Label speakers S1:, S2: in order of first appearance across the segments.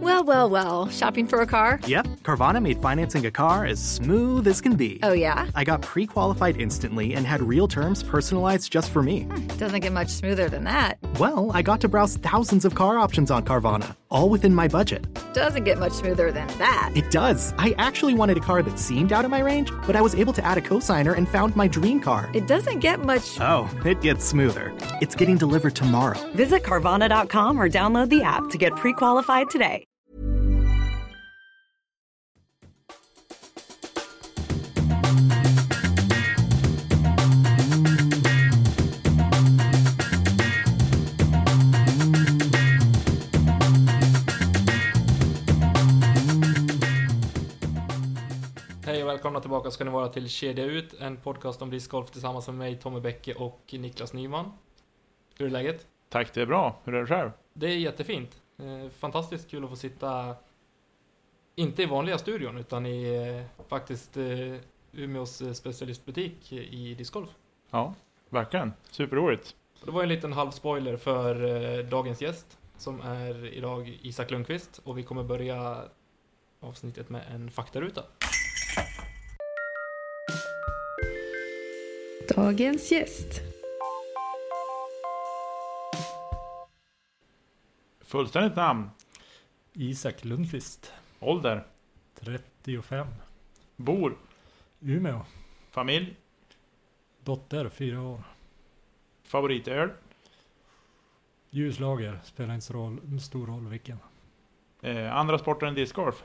S1: well, well. Shopping for a car?
S2: Yep, Carvana made financing a car as smooth as can be.
S1: Oh, yeah?
S2: I got pre qualified instantly and had real terms personalized just for me.
S1: Doesn't get much smoother than that.
S2: Well, I got to browse thousands of car options on Carvana, all within my budget.
S1: Doesn't get much smoother than that.
S2: It does. I actually wanted a car that seemed out of my range, but I was able to add a cosigner and found my dream car.
S1: It doesn't get much.
S2: Oh, it gets smoother. It's getting delivered tomorrow.
S3: Visit Carvana.com or download the app to get pre qualified today.
S4: Hej och välkomna tillbaka ska ni vara till Kedja Ut, en podcast om discgolf tillsammans med mig, Tommy Bäcke och Niklas Nyman. Hur är läget?
S5: Tack, det är bra. Hur är det själv?
S4: Det är jättefint. Eh, Fantastiskt kul att få sitta, inte i vanliga studion, utan i eh, faktiskt eh, Umeås eh, specialistbutik i discgolf.
S5: Ja, verkligen. Superroligt.
S4: Det var en liten halv spoiler för eh, dagens gäst, som är idag Isak Lundqvist, och vi kommer börja avsnittet med en faktaruta.
S6: Dagens gäst.
S5: Fullständigt namn,
S7: Isak Lundqvist,
S5: ålder,
S7: 35,
S5: bor,
S7: Umeå,
S5: familj,
S7: dotter, fyra år.
S5: favoritöl,
S7: Ljuslager, spelar inte så roll, stor roll vilken.
S5: eh, andra sporter än discgolf,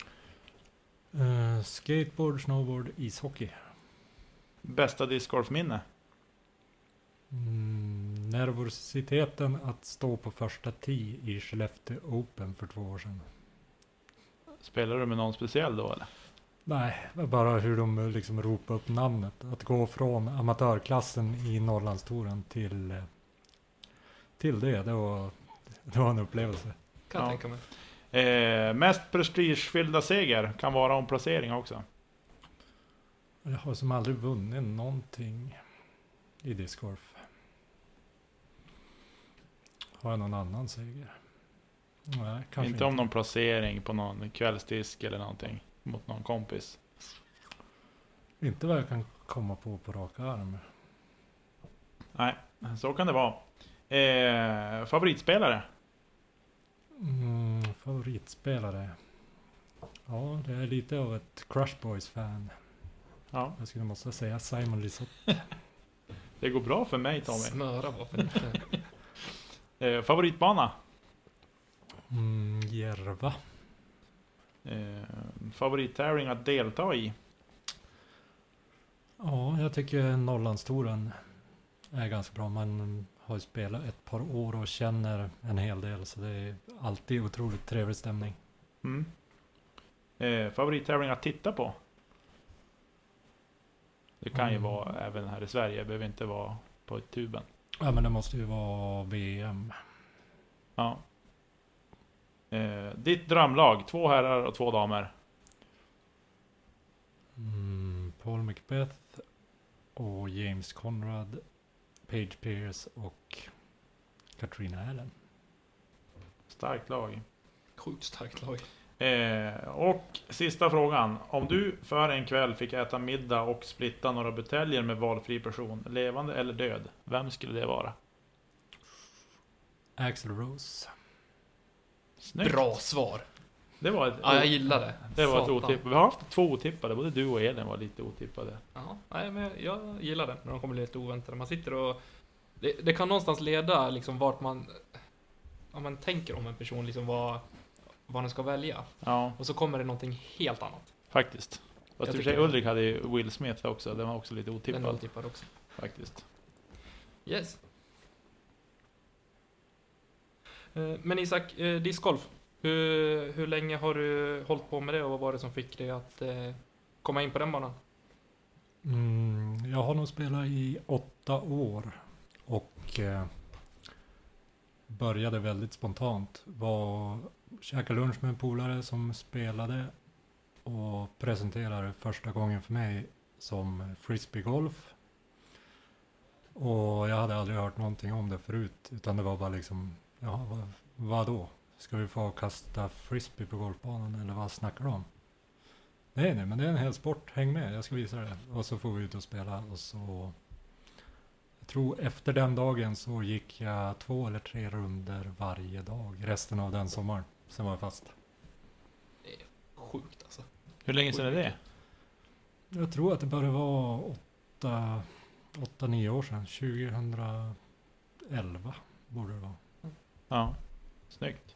S7: Eh, skateboard, snowboard, ishockey.
S5: bästa discgolfminne,
S7: Mm, nervositeten att stå på första tee i Skellefteå Open för två år sedan.
S5: spelar du med någon speciell då eller?
S7: Nej, det var bara hur de eh, liksom ropade upp namnet. Att gå från amatörklassen i Norrlandstouren till, eh, till det, det var, det var en upplevelse.
S4: Kan jag
S5: Ja.
S4: tänka mig.
S5: Eh, mest prestigefyllda seger, kan vara om placering också.
S7: Jag har som aldrig vunnit någonting i discgolf. Har jag någon annan seger? Nej, kanske
S5: inte om någon placering på någon kvällsdisk eller någonting mot någon kompis.
S7: Inte vad jag kan komma på på rak arm.
S5: Nej, så kan det vara. Eh, favoritspelare,
S7: Mm, favoritspelare? Ja, det är lite av ett Crush Boys-fan.
S5: ja,
S7: Jag skulle måste säga Simon Lisott.
S5: det går bra för mig Tommy.
S4: Smöra var för lite.
S5: Eh, favoritbana,
S7: Mm, Järva.
S5: eh, favorittävling att delta i.
S7: Ja, jag tycker Norrlandstouren är ganska bra. Man har ju spelat ett par år och känner en hel del så det är alltid otroligt trevlig stämning.
S5: Mm. Eh, favorittävling att titta på? Det kan ju
S7: Mm.
S5: vara även här i Sverige, det behöver inte vara på tuben.
S7: Ja men det måste ju vara VM.
S5: Ja. Eh, ditt drömlag, två herrar och två damer.
S7: Mm, Paul Macbeth och James Conrad, Paige Pierce och Katrina Allen.
S5: Starkt lag.
S4: Sjukt starkt lag.
S5: Eh, och sista frågan. Om du för en kväll fick äta middag och splitta några buteljer med valfri person, levande eller död, vem skulle det vara?
S7: Axel Rose.
S5: Snyggt!
S4: Bra svar!
S5: Det var ett,
S4: Ja, jag gillar det.
S5: det var ett
S4: Satan.
S5: otippat. Vi har haft två otippade, både du och Elin var lite otippade.
S4: Ja, nej, men jag- jag gillar det när de kommer lite oväntade. Man sitter och... Det, det kan någonstans leda liksom vart man... Om man tänker om en person, liksom vad, vad den ska välja.
S5: Ja.
S4: Och så kommer det någonting helt annat.
S5: Faktiskt.
S4: Jag
S5: Jag
S4: tycker
S5: tror sig
S4: det.
S5: Ulrik hade ju Will Smith också, den var också lite
S4: Den
S5: otippad
S4: otippad också.
S5: faktiskt.
S4: Yes. Eh, Men Isak, eh, discgolf. Hur, hur länge har du hållit på med det och vad var det som fick dig att eh, komma in på den banan?
S7: Mm, jag har nog spelat i åtta år och eh, började väldigt spontant. Var käkade lunch med en polare som spelade och presenterade första gången för mig som frisbeegolf. Och jag hade aldrig hört någonting om det förut utan det var bara liksom, ja vad, vadå? Ska vi få kasta frisbee på golfbanan eller vad snackar du om? Nej, nej, men det är en hel sport. Häng med, jag ska visa dig. Och så får vi ut och spela och så... Jag tror efter den dagen så gick jag två eller tre runder varje dag resten av den sommaren. Sen var jag fast.
S4: Sjukt alltså.
S5: Hur länge sedan är det?
S7: Jag tror att det började vara åtta, åtta, nio år sedan. 2011 borde det vara.
S5: Ja. Snyggt.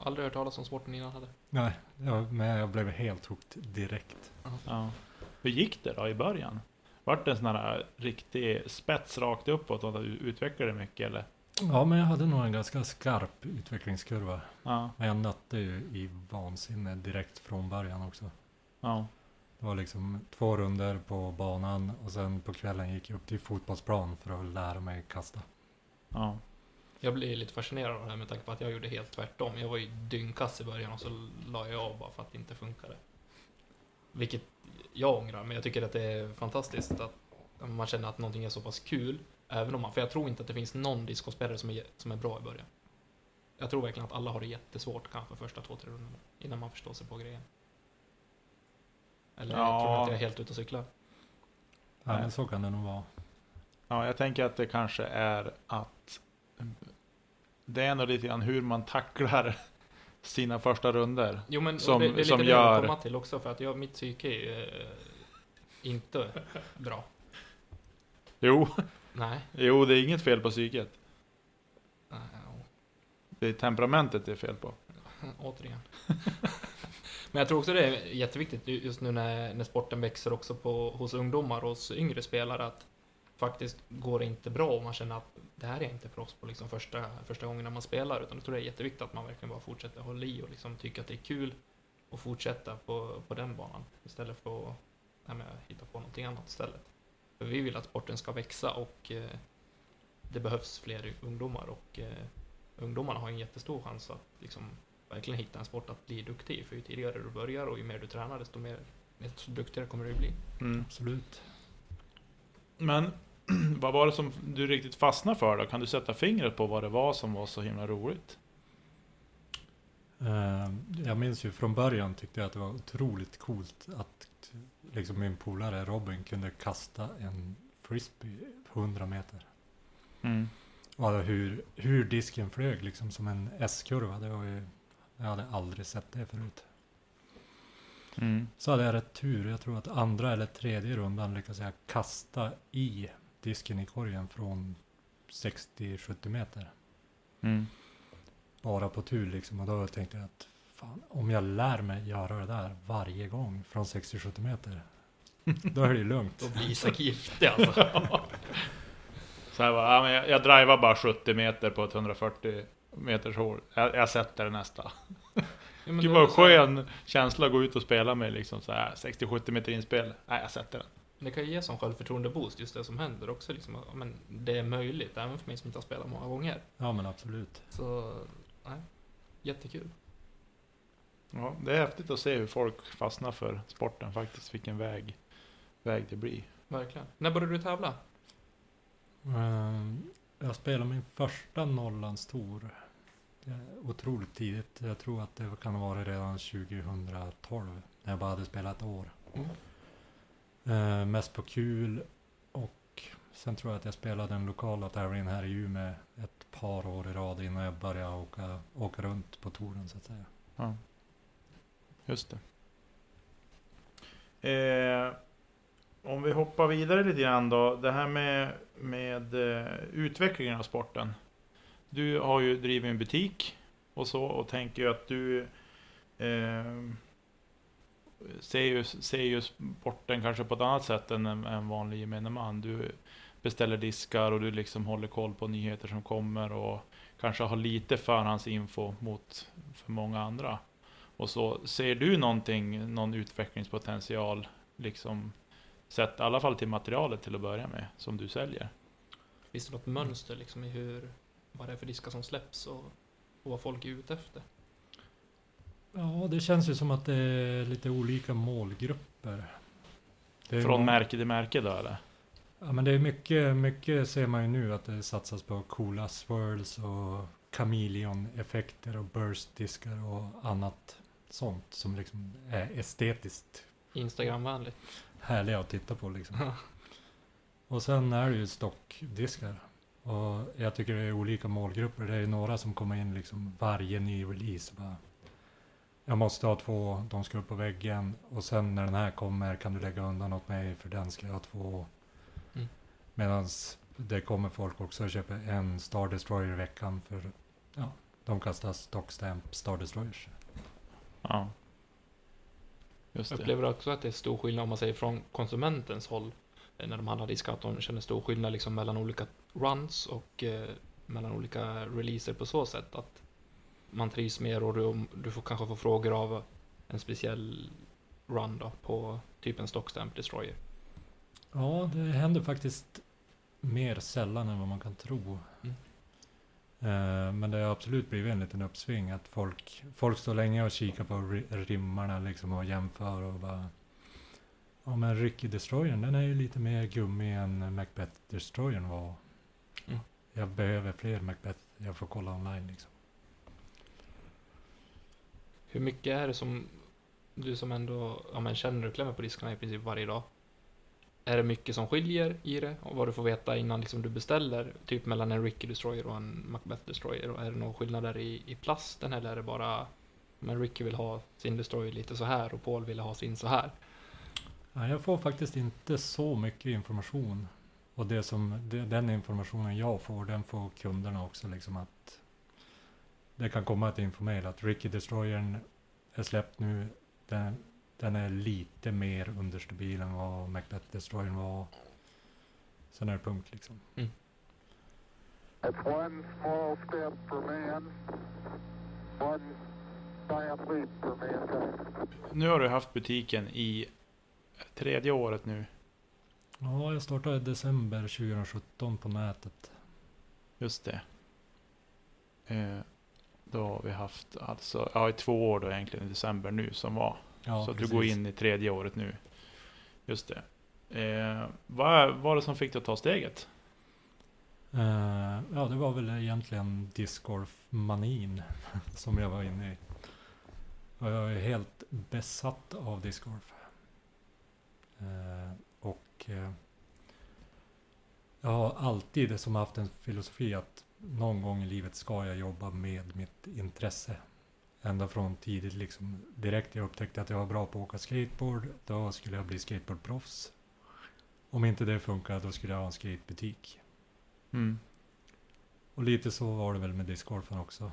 S4: Aldrig hört talas om sporten innan heller.
S7: Nej, jag, men jag blev helt hooked direkt.
S5: Ja. Hur gick det då i början? Vart det en sån här riktig spets rakt uppåt och att du utvecklade mycket eller?
S7: Ja, men jag hade nog en ganska skarp utvecklingskurva.
S5: Ja.
S7: Men jag nötte ju i vansinne direkt från början också.
S5: Ja.
S7: Det var liksom två runder på banan och sen på kvällen gick jag upp till fotbollsplan för att lära mig kasta.
S5: Ja.
S4: Jag blir lite fascinerad av det här med tanke på att jag gjorde helt tvärtom. Jag var ju dyngkass i början och så la jag av bara för att det inte funkade. Vilket jag ångrar, men jag tycker att det är fantastiskt att man känner att någonting är så pass kul. Även om man, för jag tror inte att det finns någon discospelare som är, som är bra i början. Jag tror verkligen att alla har det jättesvårt kanske första två, tre rundorna innan man förstår sig på grejen. Eller
S5: Ja.
S4: tror du att jag är helt ute och cyklar?
S7: Ja,
S5: Nej.
S7: men så kan det nog vara.
S5: Ja, jag tänker att det kanske är att mm, det är nog lite grann hur man tacklar sina första runder.
S4: Jo men och
S5: Som-
S4: det, det är lite
S5: som
S4: det jag
S5: gör-
S4: vill komma till också för att jag, mitt psyke är ju eh, inte bra.
S5: Jo,
S4: Nej.
S5: jo, det är inget fel på psyket.
S4: Nej,
S5: Det är temperamentet det är fel på.
S4: ja, Återigen. Men jag tror också det är jätteviktigt ju- just nu när, när sporten växer också på, hos ungdomar och hos yngre spelare att faktiskt går det inte bra om man känner att det här är inte proffs på liksom första, första gången när man spelar utan jag tror det är jätteviktigt att man verkligen bara fortsätter hålla i och liksom tycka att det är kul och fortsätta på, på den banan istället för att nej, men, hitta på någonting annat istället. För vi vill att sporten ska växa och eh, det behövs fler ungdomar och eh, ungdomarna har en jättestor chans att liksom, verkligen hitta en sport att bli duktig i. För ju tidigare du börjar och ju mer du tränar desto mer desto duktigare kommer du bli.
S7: Absolut.
S5: Mm. Men vad var det som du riktigt fastnade för då? Kan du sätta fingret på vad det var som var så himla roligt?
S7: Eh, Jag minns ju från början tyckte jag att det var otroligt coolt att t- liksom min polare Robin kunde kasta en frisbee 100 meter. Och alla hur, hur disken flög liksom som en S-kurva. Det var ju, jag hade aldrig sett det förut. Så hade jag rätt tur. Jag tror att andra eller tredje rundan lyckades jag kasta i disken i korgen från 60-70 meter. Bara på tur liksom. Och då tänkte jag att fan, om jag lär mig göra det där varje gång från 60-70 meter. Då är det ju lugnt.
S4: Då blir Isak giftig alltså.
S5: Så här bara, ja, men jag, jag drivar bara 70 meter på ett 140 meters hål. Jag, jag sätter det nästa.
S4: Ja, men
S5: Gud
S4: det är
S5: vad
S4: så här,
S5: skön känsla att gå ut och spela med liksom så här 60-70 meter inspel. Nej, jag sätter den.
S4: Det kan ju ge sån självförtroende-boost just det som händer också. Liksom, att, ja, men det är möjligt även för mig som inte har spelat många gånger.
S7: Ja men absolut.
S4: Så, nej. Jättekul.
S5: Ja, det är häftigt att se hur folk fastnar för sporten faktiskt. Vilken väg, väg det blir.
S4: Verkligen. När började du tävla?
S7: Eh, Jag spelade min första Norrlandstour eh, otroligt tidigt. Jag tror att det kan ha varit redan 2012 när jag bara hade spelat ett år.
S4: Mm.
S7: Eh, Mest på kul och sen tror jag att jag spelade den lokala tävlingen här i Umeå ett par år i rad innan jag började åka, åka runt på touren så att säga.
S5: Ja. Just det. Eh, om vi hoppar vidare lite grann då. Det här med, med eh, utvecklingen av sporten. Du har ju drivit en butik och så och tänker ju att du eh, ser, ju, ser ju sporten kanske på ett annat sätt än en, en vanlig gemene man. Du beställer diskar och du liksom håller koll på nyheter som kommer och kanske har lite förhandsinfo mot för många andra. Och så ser du någonting, någon utvecklingspotential, liksom sett i alla fall till materialet till att börja med, som du säljer?
S4: Finns det något mönster liksom i hur, vad det är för diskar som släpps och, och vad folk är ute efter?
S7: Ja, det känns ju som att det är lite olika målgrupper. Det är
S5: Från
S7: många-
S5: märke till märke då eller?
S7: Ja men det är mycket, mycket ser man ju nu att det satsas på coola swirls och chameleon-effekter och burstdiskar och annat sånt som liksom är estetiskt
S4: Instagramvänligt.
S7: härliga att titta på liksom.
S4: Ja.
S7: Och sen är det ju stockdiskar. Och jag tycker det är olika målgrupper. Det är ju några som kommer in liksom varje ny release. Bara, jag måste ha två, de ska upp på väggen. Och sen när den här kommer kan du lägga undan åt mig för den ska jag ha två.
S4: Mm.
S7: Medan det kommer folk också och köper en Star Destroyer i veckan för ja, de kastar stockstamp Star Destroyers.
S5: Ja. Just
S4: Jag
S5: det.
S4: upplever också att det är stor skillnad om man säger från konsumentens håll. eh, När de handlar disk att de känner stor skillnad liksom mellan olika runs och eh, mellan olika releaser på så sätt att man trivs mer och du, du får kanske få frågor av en speciell run då på typ en stockstamp destroyer.
S7: Ja, det händer faktiskt mer sällan än vad man kan tro.
S4: Mm.
S7: Eh, Men det har absolut blivit en liten uppsving att folk, folk står länge och kikar på ri- rimmarna liksom och jämför och bara Ja men Ricky Destroyern den är ju lite mer gummi än Macbeth Destroyern var.
S4: Mm.
S7: Jag behöver fler Macbeth, jag får kolla online liksom.
S4: Hur mycket är det som du som ändå ja, men känner och klämmer på diskarna i princip varje dag? Är det mycket som skiljer i det och vad du får veta innan liksom du beställer? Typ mellan en Ricky Destroyer och en Macbeth Destroyer. Och är det någon skillnad där i, i plasten eller är det bara men Ricky vill ha sin Destroyer lite så här och Paul vill ha sin så här.
S7: Ja, jag får faktiskt inte så mycket information. Och det som, det, den informationen jag får, den får kunderna också. Liksom att det kan komma ett infomail att Ricky Destroyern är släppt nu. Den, den är lite mer understabil än vad Macbeth Destroyern var. Sen är det punkt liksom.
S6: It's one small step for man, one giant leap for mankind.
S5: Nu har du haft butiken i tredje året nu.
S7: Ja, jag startade i december 2017 på nätet.
S5: Just det. Eh, då har vi haft alltså, ja i två år då egentligen i december nu som var.
S7: Ja,
S5: så att
S7: precis.
S5: du går in i tredje året nu. Just det. Eh, vad var det som fick dig att ta steget?
S7: Eh, ja, det var väl egentligen discgolf-manin som jag var inne i. Och jag är helt besatt av discgolf. Eh, och eh, jag har alltid som haft en filosofi att någon gång i livet ska jag jobba med mitt intresse. Ända från tidigt, liksom, direkt jag upptäckte att jag var bra på att åka skateboard, då skulle jag bli skateboardproffs. Om inte det funkar, då skulle jag ha en skatebutik.
S5: Mm.
S7: Och lite så var det väl med discgolfen också.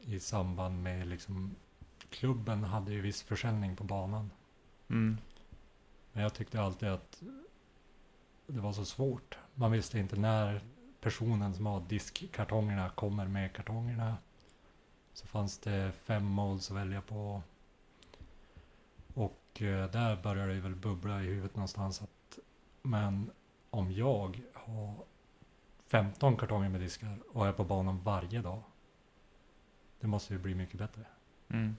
S7: I samband med liksom, klubben hade ju viss försäljning på banan.
S5: Mm.
S7: Men jag tyckte alltid att det var så svårt. Man visste inte när personen som har diskkartongerna kommer med kartongerna. Så fanns det fem mål att välja på. Och eh, där började det väl bubbla i huvudet någonstans att men om jag har 15 kartonger med diskar och är på banan varje dag. Det måste ju bli mycket bättre.
S5: Mm.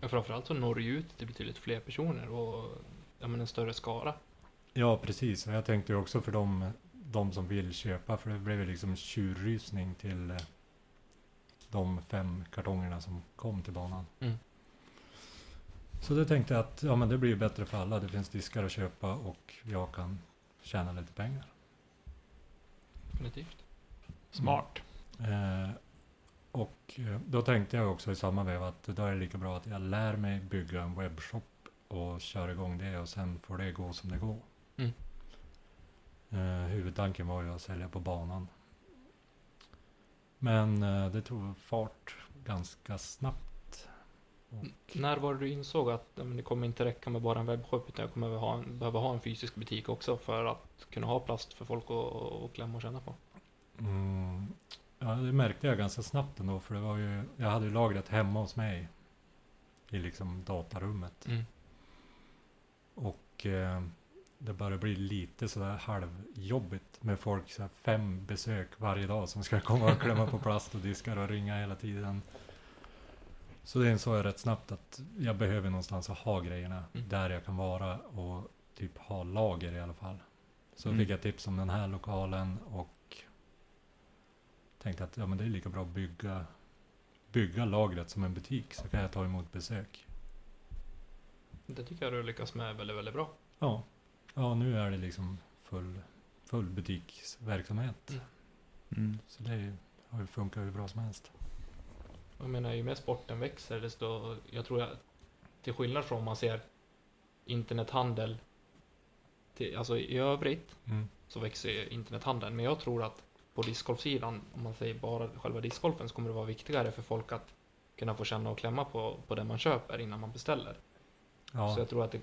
S4: Men framförallt så når du ju ut till betydligt fler personer och ja, men en större skara.
S7: Ja, precis. Och jag tänkte ju också för de, de som vill köpa, för det blev ju liksom tjurrysning till eh, de fem kartongerna som kom till banan.
S4: Mm.
S7: Så det tänkte jag att ja, men det blir ju bättre för alla. Det finns diskar att köpa och jag kan tjäna lite pengar.
S4: Definitivt.
S5: Smart.
S7: Eh, och eh, då tänkte jag också i samma veva att då är det lika bra att jag lär mig bygga en webbshop och kör igång det och sen får det gå som det går.
S4: Mm.
S7: Eh, huvudtanken var ju att sälja på banan. Men eh, det tog fart ganska snabbt. Och,
S4: När var det du insåg att ja, men det kommer inte räcka med bara en webbshop utan jag kommer behöva ha en, behöva ha en fysisk butik också för att kunna ha plast för folk att att klämma och känna på?
S7: mm, ja, det märkte jag ganska snabbt ändå för det var ju, jag hade ju lagret hemma hos mig. I liksom datarummet. Och eh, det börjar bli lite sådär halvjobbigt med folk, så här fem besök varje dag som ska komma och klämma på plast och diskar och ringa hela tiden. Så det insåg jag rätt snabbt att jag behöver någonstans att ha grejerna
S4: Mm.
S7: där jag kan vara och typ ha lager i alla fall. Så
S5: Mm.
S7: fick jag tips om den här lokalen och tänkte att ja, men det är lika bra att bygga, bygga lagret som en butik så kan jag ta emot besök.
S4: Det tycker jag du lyckas med väldigt, väldigt bra.
S7: Ja, ja nu är det liksom full, full butiksverksamhet. Så det är- har ju funkat hur bra som helst.
S4: Och Jag menar, ju mer sporten växer, desto... Jag tror jag... Till skillnad från om man ser internethandel till, alltså i övrigt,
S7: Mm.
S4: så växer ju internethandeln. Men jag tror att på discgolfsidan, om man säger bara själva discgolfen, så kommer det vara viktigare för folk att kunna få känna och klämma på, på det man köper innan man beställer.
S7: Ja.
S4: Så jag tror att det,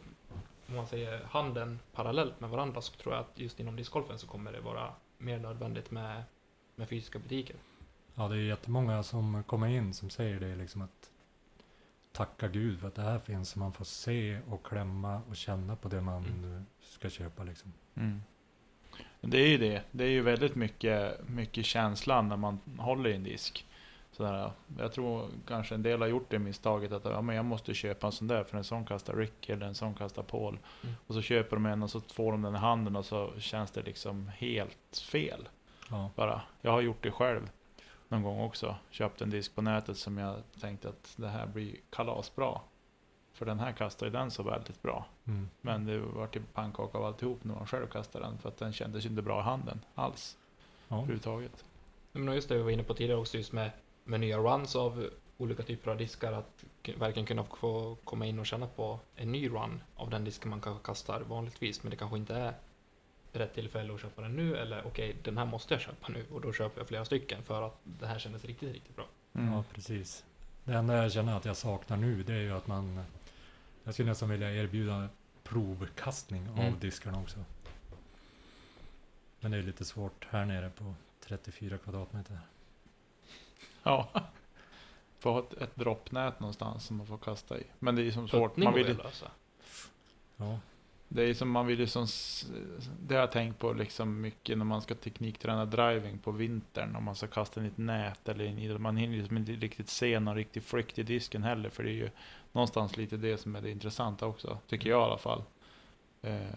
S4: om man säger handeln parallellt med varandra så tror jag att just inom discgolfen så kommer det vara mer nödvändigt med, med fysiska butiker.
S7: Ja, det är jättemånga som kommer in som säger det liksom att tacka gud för att det här finns så man får se och klämma och känna på det man
S4: Mm.
S7: eh, ska köpa liksom.
S5: Mm. Det är ju det. Det är ju väldigt mycket, mycket känslan när man håller i en disk. Sådär, jag tror kanske en del har gjort det misstaget att ja, men jag måste köpa en sån där för en sån kastar Rick eller en sån kastar Paul.
S4: Mm.
S5: Och så köper de en och så får de den i handen och så känns det liksom helt fel.
S7: Ja,
S5: Bara. Jag har gjort det själv någon gång också. Köpt en disk på nätet som jag tänkte att det här blir kalasbra. För den här kastar ju den så väldigt bra.
S7: mm.
S5: Men det var typ pannkaka av alltihop när man själv kastade den. För att den kändes ju inte bra i handen alls.
S7: ja.
S5: Överhuvudtaget.
S4: Nej, Men just det vi var inne på tidigare också just med, med nya runs av olika typer av diskar att k- verkligen kunna få komma in och känna på en ny run av den disken man kanske kastar vanligtvis men det kanske inte är rätt tillfälle att köpa den nu eller okej den här måste jag köpa nu och då köper jag flera stycken för att det här kändes riktigt riktigt bra.
S5: Mm.
S7: ja, precis. Det enda jag känner att jag saknar nu det är ju att man, jag skulle nästan vilja erbjuda provkastning av
S4: Mm.
S7: diskarna också. Men det är lite svårt här nere på 34 kvadratmeter.
S5: Ja. Får ha ett, ett droppnät någonstans som man får kasta i. Men det är ju som svårt.
S4: Puttning
S5: Man
S4: går
S5: vill,
S4: ju
S5: ju-
S4: att lösa.
S7: Ja,
S5: det är ju som man vill ju som... s- Det har jag tänkt på liksom mycket när man ska teknikträna driving på vintern. Om man ska kasta in i ett nät eller in i... Man hinner ju liksom inte riktigt se någon riktig flykt i disken heller. För det är ju någonstans lite det som är det intressanta också. Tycker jag i alla fall. Eh,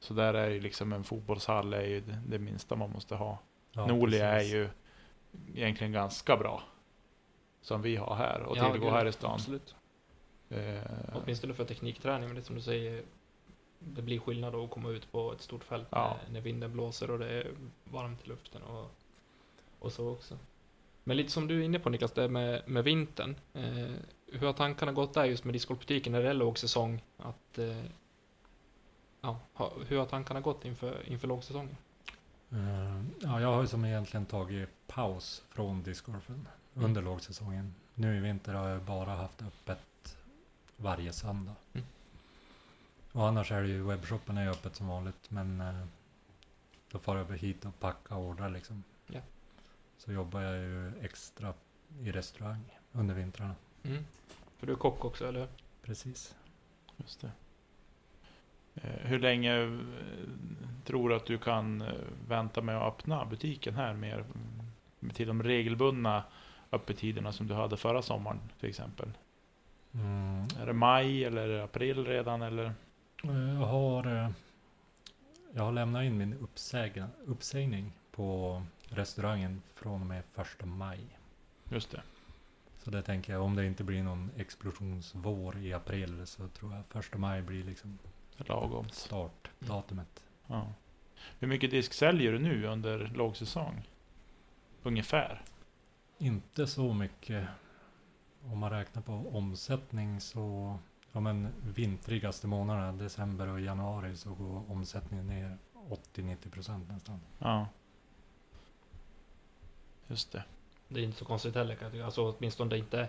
S5: så där är ju liksom en fotbollshall är ju det, det minsta man måste ha.
S7: ja
S5: Norli är
S7: precis.
S5: ju egentligen ganska bra. Som vi har här och
S4: Ja,
S5: tillgår
S4: gud,
S5: här i stan.
S4: Absolut.
S5: Eh,
S4: Åtminstone för teknikträning men det är som du säger det blir skillnad då att komma ut på ett stort fält
S5: Ja.
S4: när, när vinden blåser och det är varmt i luften och, och så också. Men lite som du är inne på Niklas, det med, med vintern. Eh, hur har tankarna gått där just med discgolfbutiken när det är lågsäsong? Att, eh, ja, ha, hur har tankarna gått inför, inför lågsäsongen?
S7: Eh, Ja, jag har ju som egentligen tagit paus från discgolfen
S4: Mm.
S7: under lågsäsongen. Nu i vinter har jag bara haft öppet varje söndag.
S4: Mm.
S7: Och annars är det ju webbshoppen är ju öppet som vanligt men eh, då far jag hit och packa och ordra liksom.
S4: Ja.
S7: Så jobbar jag ju extra i restaurang under vintrarna.
S4: Mm. För du är kock också, eller?
S7: Precis.
S5: just det. Eh, hur länge eh, tror du att du kan eh, vänta med att öppna butiken här mer? mm, Till de regelbundna öppettiderna som du hade förra sommaren till exempel.
S7: Mm.
S5: Är det maj eller är det april redan eller?
S7: Eh, Jag har, eh, jag har lämnat in min uppsägna, uppsägning på restaurangen från och med första maj.
S5: Just det.
S7: Så det tänker jag, om det inte blir någon explosionsvår i april så tror jag första maj blir liksom
S5: Lagom.
S7: startdatumet.
S5: Ja. Hur mycket disk säljer du nu under lågsäsong? Ungefär.
S7: Inte så mycket. Om man räknar på omsättning så, ja men vintrigaste månaderna, december och januari, så går omsättningen ner 80-90% nästan.
S5: Ja. Just det.
S4: Det är inte så konstigt heller kan jag tycka. Alltså åtminstone det är inte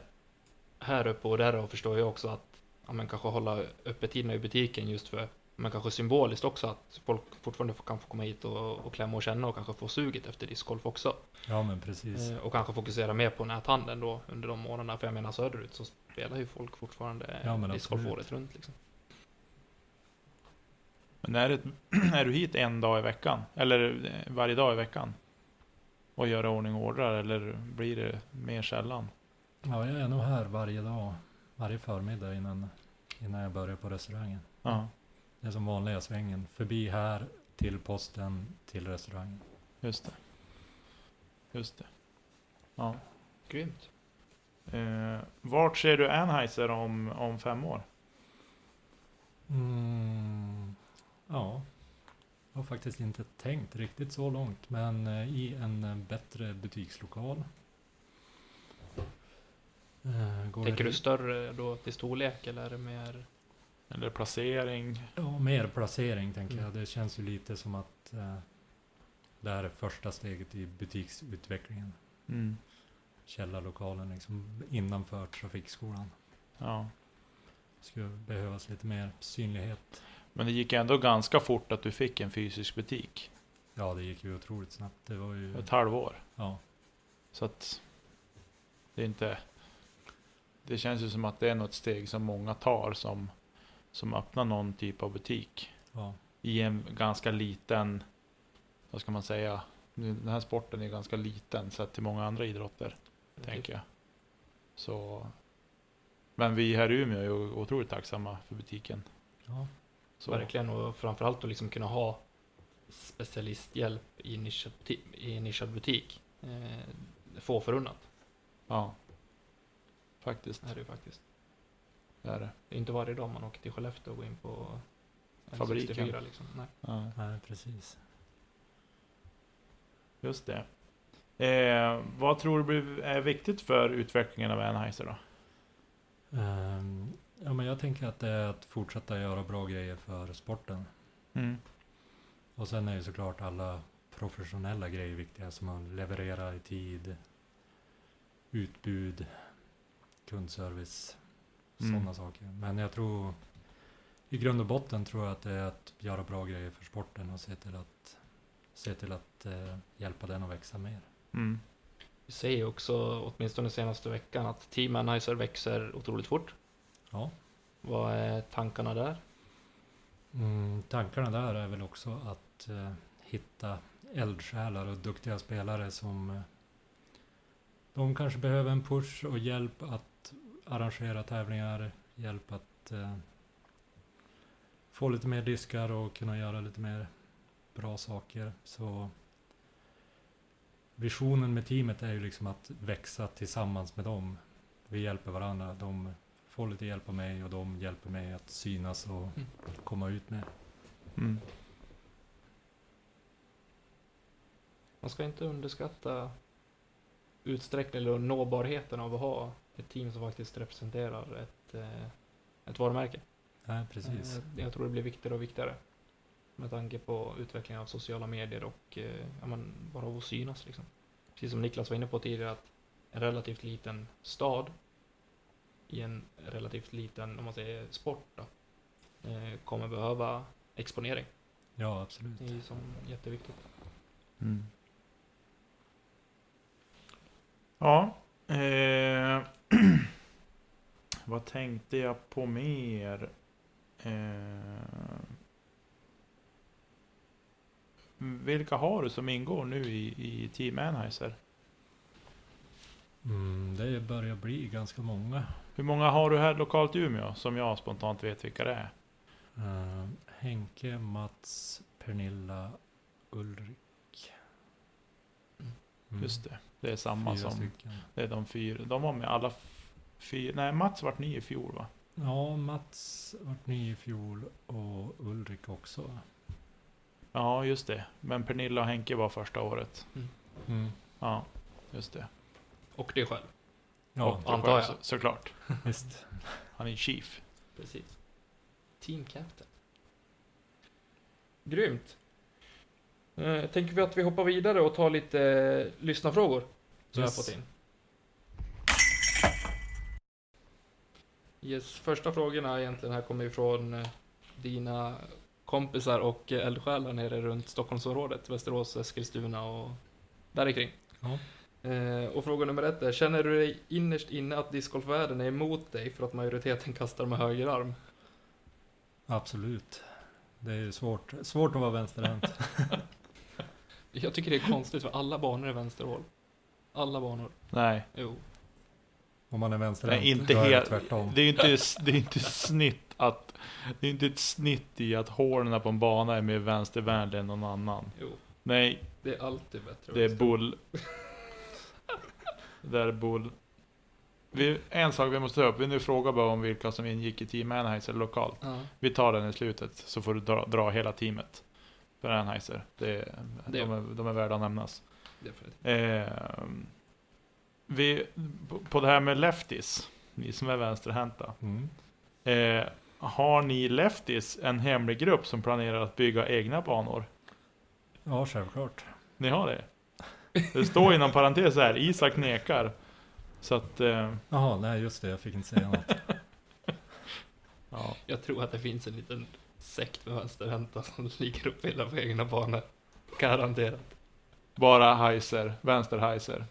S4: här uppe och där och förstår jag också att ja, men kanske hålla öppettiderna i butiken just för men kanske symboliskt också att folk fortfarande får- kan få komma hit och, och klämma och känna och kanske få suget efter discgolf också.
S7: Ja men precis.
S4: Eh, och kanske fokusera mer på näthandeln då under de månaderna. För jag menar söderut så spelar ju folk fortfarande
S7: Ja, men
S4: discgolf
S7: absolut.
S4: året runt. Liksom.
S5: Men är, det, är du hit en dag i veckan? Eller eh, varje dag i veckan? Och göra ordning och ordrar? Eller blir det mer sällan?
S7: Ja, jag är nog här varje dag, varje förmiddag innan, innan jag börjar på restaurangen.
S5: Ja,
S7: Det är som vanliga svängen, förbi här, till posten, till restaurangen.
S5: just det. Just det. Ja.
S4: Grymt.
S5: Eh, vart ser du Anheuser om, om fem år?
S7: Mm, ja, jag har faktiskt inte tänkt riktigt så långt, men eh, i en eh, bättre butikslokal. Eh, Går
S4: Tänker
S7: det-
S4: du större då till storlek eller är det mer?
S5: Eller placering?
S7: Ja, mer placering tänker
S4: Mm.
S7: jag. Det känns ju lite som att eh, det här är första steget i butiksutvecklingen.
S5: Mm.
S7: Källarlokalen liksom innanför trafikskolan.
S5: Ja.
S7: Skulle behövas lite mer synlighet.
S5: Men det gick ändå ganska fort att du fick en fysisk butik.
S7: Ja, det gick ju otroligt snabbt. Det var ju...
S5: Ett halvår.
S7: Ja,
S5: Så att det är inte... Det känns ju som att det är något steg som många tar som, som öppnar någon typ av butik.
S7: ja,
S5: i en ganska liten, vad ska man säga, den här sporten är ganska liten sett till många andra idrotter, tänker jag. Så, men vi här i Umeå är ju otroligt tacksamma för butiken.
S7: ja.
S5: Så,
S4: Verkligen och framförallt att liksom kunna ha specialisthjälp i nischad, ti- i nischad butik. Eh, få förunnat
S5: Ja, faktiskt,
S4: är det ju faktiskt.
S5: det är det.
S4: Det är inte varje dag man åker till Skellefteå och går in på en
S5: Fabriken.
S4: 64 Liksom. Nej.
S5: Ja,
S7: Nej, precis.
S5: just det. Eh, vad tror du blir, är viktigt för utvecklingen av Anheuser då?
S7: Ehm, ja, men jag tänker att det är att fortsätta göra bra grejer för sporten.
S5: Mm,
S7: Och sen är ju såklart alla professionella grejer viktiga som att leverera i tid, utbud, kundservice,
S5: Mm.
S7: sådana saker. Men jag tror, i grund och botten tror jag att det är att göra bra grejer för sporten och se till att, se till att eh, hjälpa den att växa mer.
S5: Mm.
S4: Vi ser ju också, åtminstone senaste veckan, att Team Anheuser växer otroligt fort.
S7: Ja.
S4: Vad är tankarna där?
S7: Mm, tankarna där är väl också att eh, hitta eldsjälar och duktiga spelare som eh, de kanske behöver en push och hjälp att arrangera tävlingar, hjälp att eh, få lite mer diskar och kunna göra lite mer bra saker. Så visionen med teamet är ju liksom att växa tillsammans med dem. Vi hjälper varandra, de får lite hjälp av mig och de hjälper mig att synas och komma ut med.
S5: Mm.
S4: Man ska inte underskatta utsträckningen eller nåbarheten av att ha ett team som faktiskt representerar ett, eh, ett varumärke.
S7: Nej, precis.
S4: Eh, Jag tror det blir viktigare och viktigare med tanke på utvecklingen av sociala medier och eh, ja, men, bara av att synas. Liksom. Precis som Niklas var inne på tidigare att en relativt liten stad i en relativt liten, om man säger sport då, eh, kommer behöva exponering.
S7: Ja, absolut.
S4: Det är ju som jätteviktigt.
S5: Mm. Ja. Eh, vad tänkte jag på mer? Eh, vilka har du som ingår nu i, i Team Anheuser?
S7: Mm, det börjar bli ganska många.
S5: Hur många har du här lokalt i Umeå som jag spontant vet vilka det är?
S7: Eh, Henke, Mats, Pernilla, Ulrik. Mm,
S5: Just det, det är samma
S7: fyra
S5: som...
S7: Stycken.
S5: Det är de fyra. De var med alla f- fyra. Nej, Mats vart ny i fjol va?
S7: Ja, Mats vart ny i fjol och Ulrik också.
S5: Ja, just det. Men Pernilla och Henke var första året.
S7: Mm.
S5: Ja, just det.
S4: Och dig själv.
S7: Ja,
S4: Och- Antar jag.
S5: Så, såklart.
S7: visst.
S5: Han är chief.
S4: Precis. Team Captain. Grymt. Eh, tänker vi att vi hoppar vidare och tar lite eh, lyssnarfrågor som
S7: Yes.
S4: jag fått in. Yes, första frågorna egentligen här kommer ifrån eh, dina kompisar och eh, eldsjälar nere runt Stockholmsområdet, Västerås, Eskilstuna och där kring.
S7: Ja.
S4: Eh, och fråga nummer ett är, känner du dig innerst inne att discgolfvärlden är emot dig för att majoriteten kastar med höger arm?
S7: Absolut. Det är ju svårt, svårt att vara vänsterhänt.
S4: Jag tycker det är konstigt för alla banor är vänsterhål. Alla banor.
S5: Nej,
S4: Jo.
S7: Om man är
S5: det är
S7: vänsterhänt,
S5: inte
S7: då är det
S5: helt.
S7: tvärtom.
S5: Det är ju inte, det är inte snitt att... Det är inte ett snitt i att hålen på en bana är mer vänstervänlig än någon annan.
S4: Jo.
S5: Nej,
S4: Det är alltid bättre.
S5: det är bull. där Bull... Vi, en sak vi måste ta upp, vi nu frågar bara om vilka som ingick i Team Anheuser lokalt.
S4: Ja.
S5: Vi tar den i slutet, så får du dra, dra hela teamet för Anheuser. Det,
S4: Det-
S5: De, är, de är värda att nämnas.
S4: definitivt.
S5: Eh, vi, på- på det här med lefties, ni som är vänsterhänta.
S7: Mm.
S5: Eh, har ni lefties en hemlig grupp som planerar att bygga egna banor?
S7: Ja, självklart.
S5: Ni har det? Det står inom parentes här, Isak nekar. Så att, eh,
S7: Jaha, nej just det, jag fick inte säga något.
S5: ja.
S4: Jag tror att det finns en liten sekt med vänsterhänta som ligger upp hela på egna banor. Garanterat.
S5: Bara heiser, vänsterheiser.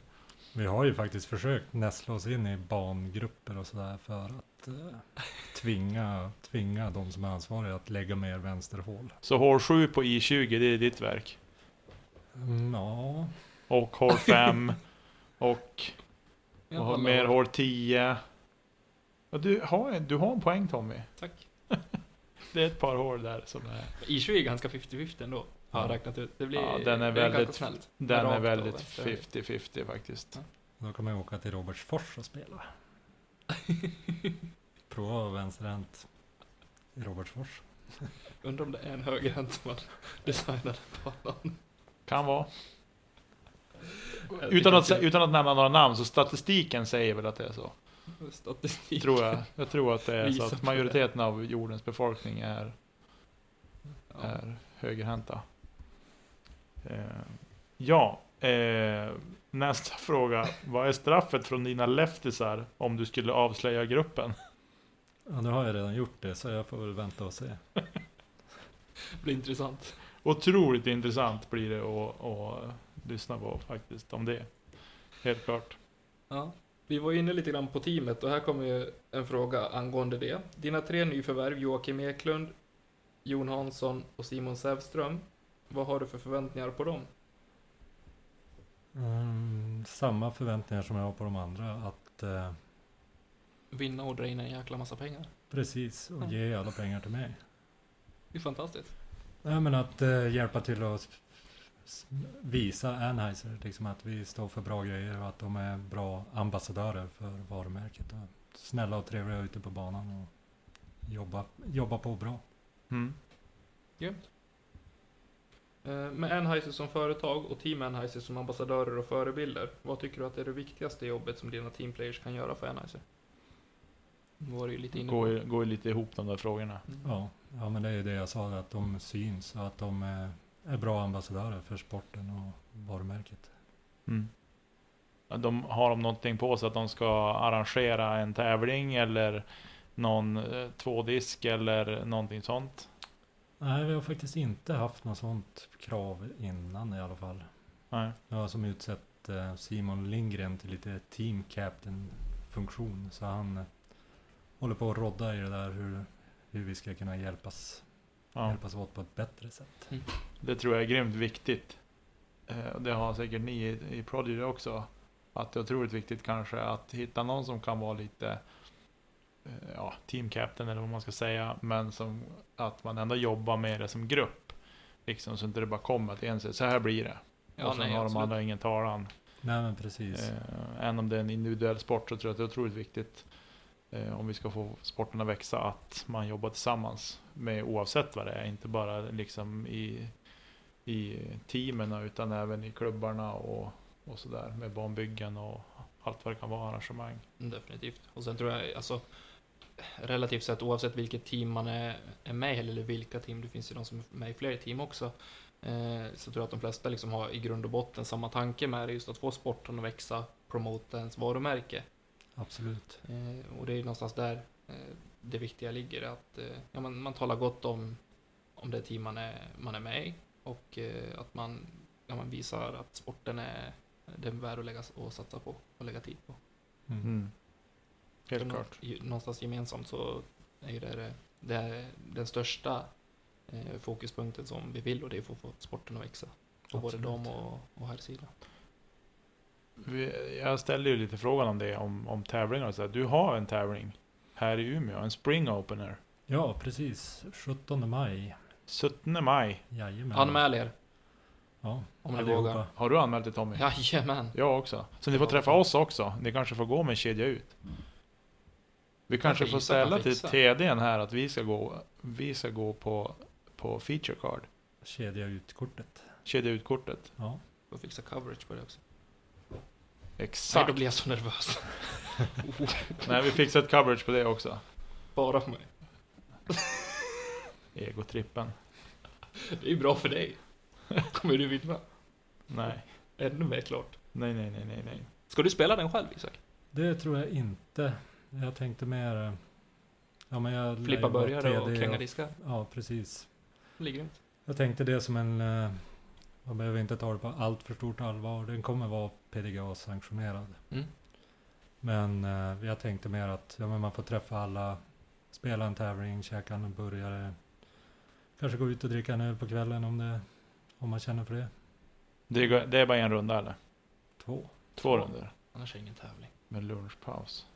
S7: Vi har ju faktiskt försökt nästla oss in i bangrupper och sådär för att eh, tvinga, tvinga de som är ansvariga att lägga mer vänsterhål.
S5: Så hål 7 på I20, det är ditt verk.
S7: Mm, Ja,
S5: Och hål 5. och och har mer hål 10. Ja, du, har, en- du har en poäng Tommy.
S4: Tack.
S5: Det är ett par hål där som är...
S4: I20 är ganska 50-50 ändå. Har jag räknat ut. Det blir
S5: Ja, den är
S4: det ganska
S5: väldigt-
S4: snällt.
S5: Den
S4: Rakt
S5: är
S4: av
S5: väldigt
S4: vänster höger.
S5: 50-50 faktiskt.
S7: då kan man ju åka till Robertsfors och spela. Prova att vara vänsterhänt i Robertsfors.
S4: Undrar om det är en högerhänt som har designat banan.
S5: Kan vara.
S4: Jag
S5: Utan
S4: tycker
S5: att, sä-
S4: det-
S5: utan att nämna några namn, så statistiken säger väl att det är så.
S4: Statistik.
S5: Tror jag. Jag tror att det är så
S4: Visa
S5: att
S4: på
S5: majoriteten av jordens befolkning är,
S4: Ja.
S5: är högerhänta. Eh, ja, eh, nästa fråga. Vad är straffet från dina leftisar om du skulle avslöja gruppen?
S7: Ja, nu har jag redan gjort det så jag får väl vänta och se.
S4: Det blir intressant.
S5: Otroligt intressant blir det att, att lyssna på faktiskt om det. Helt klart.
S4: Ja. Vi var inne lite grann på teamet och här kommer ju en fråga angående det. Dina tre nyförvärv, Joakim Eklund, Jon Hansson och Simon Sävström. Vad har du för förväntningar på dem?
S7: Mm, samma förväntningar som jag har på de andra att eh,
S4: Vinna och dra in en jäkla massa pengar.
S7: precis och ge alla pengar till mig.
S4: Det är fantastiskt.
S7: Nej men att eh, hjälpa till att s- s- visa Anheuser liksom att vi står för bra grejer och att de är bra ambassadörer för varumärket. Och snälla och trevliga ute på banan och jobba, jobba på bra.
S5: Mm.
S4: Grymt. Eh, Med Anheuser som företag och Team Anheuser som ambassadörer och förebilder, vad tycker du att är det viktigaste jobbet som dina teamplayers kan göra för Anheuser? Nu var det ju lite inne
S5: Går,
S4: på. Mm.
S5: ju- går ju lite ihop de där frågorna.
S7: Ja, ja men det är ju det jag sa att de syns och att de är, är bra ambassadörer för sporten och varumärket.
S5: Ja, De, har de någonting på sig att de ska arrangera en tävling eller någon eh, tvådisk eller någonting sånt?
S7: Nej vi har faktiskt inte haft något sånt krav innan i alla fall.
S5: Nej.
S7: Jag har som utsett eh, Simon Lindgren till lite team captain funktion. Så han eh, håller på att rodda i det där hur, hur vi ska kunna hjälpas,
S5: Ja,
S7: hjälpas åt på ett bättre sätt.
S5: det tror jag är grymt viktigt. Eh, och Det har säkert ni i, i Prodigy också. Att det är otroligt viktigt kanske att hitta någon som kan vara lite eh, ja, team captain eller vad man ska säga. Men som, att man ändå jobbar med det som grupp. Liksom så inte det bara kommer att en säger så här blir det. och sen har de
S4: absolut.
S5: andra ingen talan.
S7: Nej men precis.
S5: Eh, även om det är en individuell sport så tror jag att det är otroligt viktigt eh, om vi ska få sporten att växa att man jobbar tillsammans med oavsett vad det är. Inte bara liksom i, i teamen utan även i klubbarna och, och sådär med banbyggen och allt vad det kan vara arrangemang.
S4: Definitivt. Och sen tror jag, alltså, relativt sett oavsett vilket team man är, är med i, eller vilka team, det finns ju de som är med i fler team också, eh, så tror jag att de flesta liksom har i grund och botten samma tanke med det, just att få sporten att växa, promota ens varumärke.
S7: Absolut.
S4: Eh, och det är ju någonstans där eh, det viktiga ligger, att eh, ja, man, man talar gott om, om det team man är, man är med i och eh, att man, ja, man visar att sporten är den är värd att lägga s- och satsa på och lägga tid på.
S7: Mm.
S5: Helt
S4: För nå-
S5: klart.
S4: ju- Någonstans gemensamt så är ju det, det, det är den största eh, fokuspunkten som vi vill och det är för att få sporten att växa. På både
S7: Absolut.
S4: dam och, och herrsidan.
S5: Vi, jag ställde ju lite frågan om det, om, om tävlingar och sådär. Du har en tävling här i Umeå, en Spring Opener.
S7: Ja precis. 17 maj.
S5: 17 maj.
S7: Jajamän.
S4: Anmäl er!
S7: Ja,
S4: Om ni
S7: allihopa.
S4: vågar.
S5: Har du anmält dig Tommy?
S4: Jajamän.
S5: Jag också. Så ni får träffa oss också. Ni kanske får gå med en kedja ut. Vi kanske
S4: Kanske
S5: får
S4: Isak kan
S5: ställa till
S4: fixa.
S5: TDn här att vi ska gå, vi ska gå på, på feature card.
S7: Kedja ut kortet.
S5: Kedja ut kortet.
S7: Ja.
S4: Får fixa coverage på det också. Nej,
S5: Exakt.
S4: då blir jag så nervös. Oh,
S5: Nej, vi fixar ett coverage på det också.
S4: Bara för mig.
S5: Egotrippen.
S4: Det är ju bra för dig. Kommer du vinna?
S5: Nej.
S4: Ännu mer klart.
S5: Nej, nej, nej, nej, nej.
S4: Ska du spela den själv Isak?
S7: Det tror jag inte. Jag tänkte mer... eh, Ja, men jag lär ju
S4: Flippa
S7: vara
S4: burgare och
S7: 3D
S4: kränga diskar?
S7: Ja, precis.
S4: Det ligger inte.
S7: Jag tänkte det som en... eh, Man behöver inte ta det på allt för stort allvar. Den kommer vara PDGA-sanktionerad.
S4: Mm.
S7: Men eh, jag tänkte mer att ja, men man får träffa alla, spela en tävling, käka en burgare. Kanske gå ut och dricka en öl på kvällen om, det, om man känner för det.
S5: Det är, det är bara en runda eller?
S7: Två.
S5: Två runder.
S4: Annars är det ingen tävling.
S5: Med lunchpaus.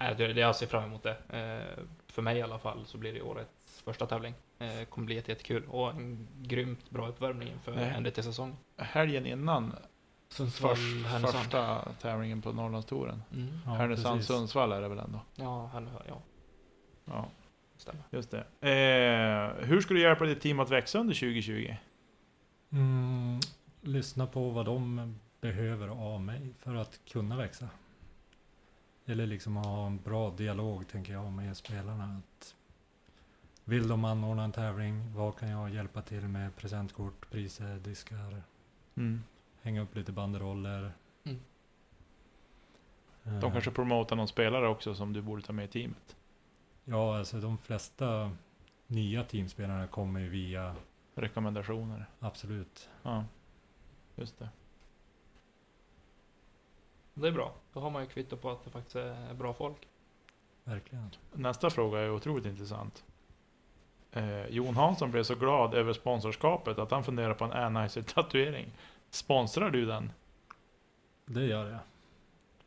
S4: Nej, det, det jag ser fram emot det. Eh, för mig i alla fall så blir det årets första tävling. Eh, kommer bli jätte- jättekul och en grymt bra uppvärmning inför
S5: Nej.
S4: NDT-säsongen.
S5: Helgen innan
S4: Sundsvall,
S5: förs-
S4: Härnösand.
S5: första tävlingen på Norrlandstouren.
S4: Mm.
S7: Ja, precis.
S5: Härnösand-Sundsvall är det väl ändå?
S4: Ja, Härnö, ja,
S5: Ja.
S4: stämmer.
S5: Just det. Eh, hur ska du hjälpa ditt team att växa under 2020?
S7: Mm, lyssna på vad de behöver av mig för att kunna växa. Eller liksom ha en bra dialog tänker jag med spelarna. Att vill de anordna en tävling, vad kan jag hjälpa till med? Presentkort, priser, diskar, hänga upp lite banderoller.
S4: Mm.
S5: De
S7: Eh,
S5: kanske promotar någon spelare också som du borde ta med i teamet.
S7: Ja, alltså de flesta nya teamspelarna kommer ju via,
S5: Rekommendationer.
S7: absolut.
S5: Ja, just det.
S4: Det är bra. Då har man ju kvitto på att det faktiskt är bra folk.
S7: Verkligen.
S5: Nästa fråga är otroligt intressant. Eh, Jon Hansson blev så glad över sponsorskapet att han funderar på en Anheuser-tatuering. Sponsrar du den?
S7: Det gör jag.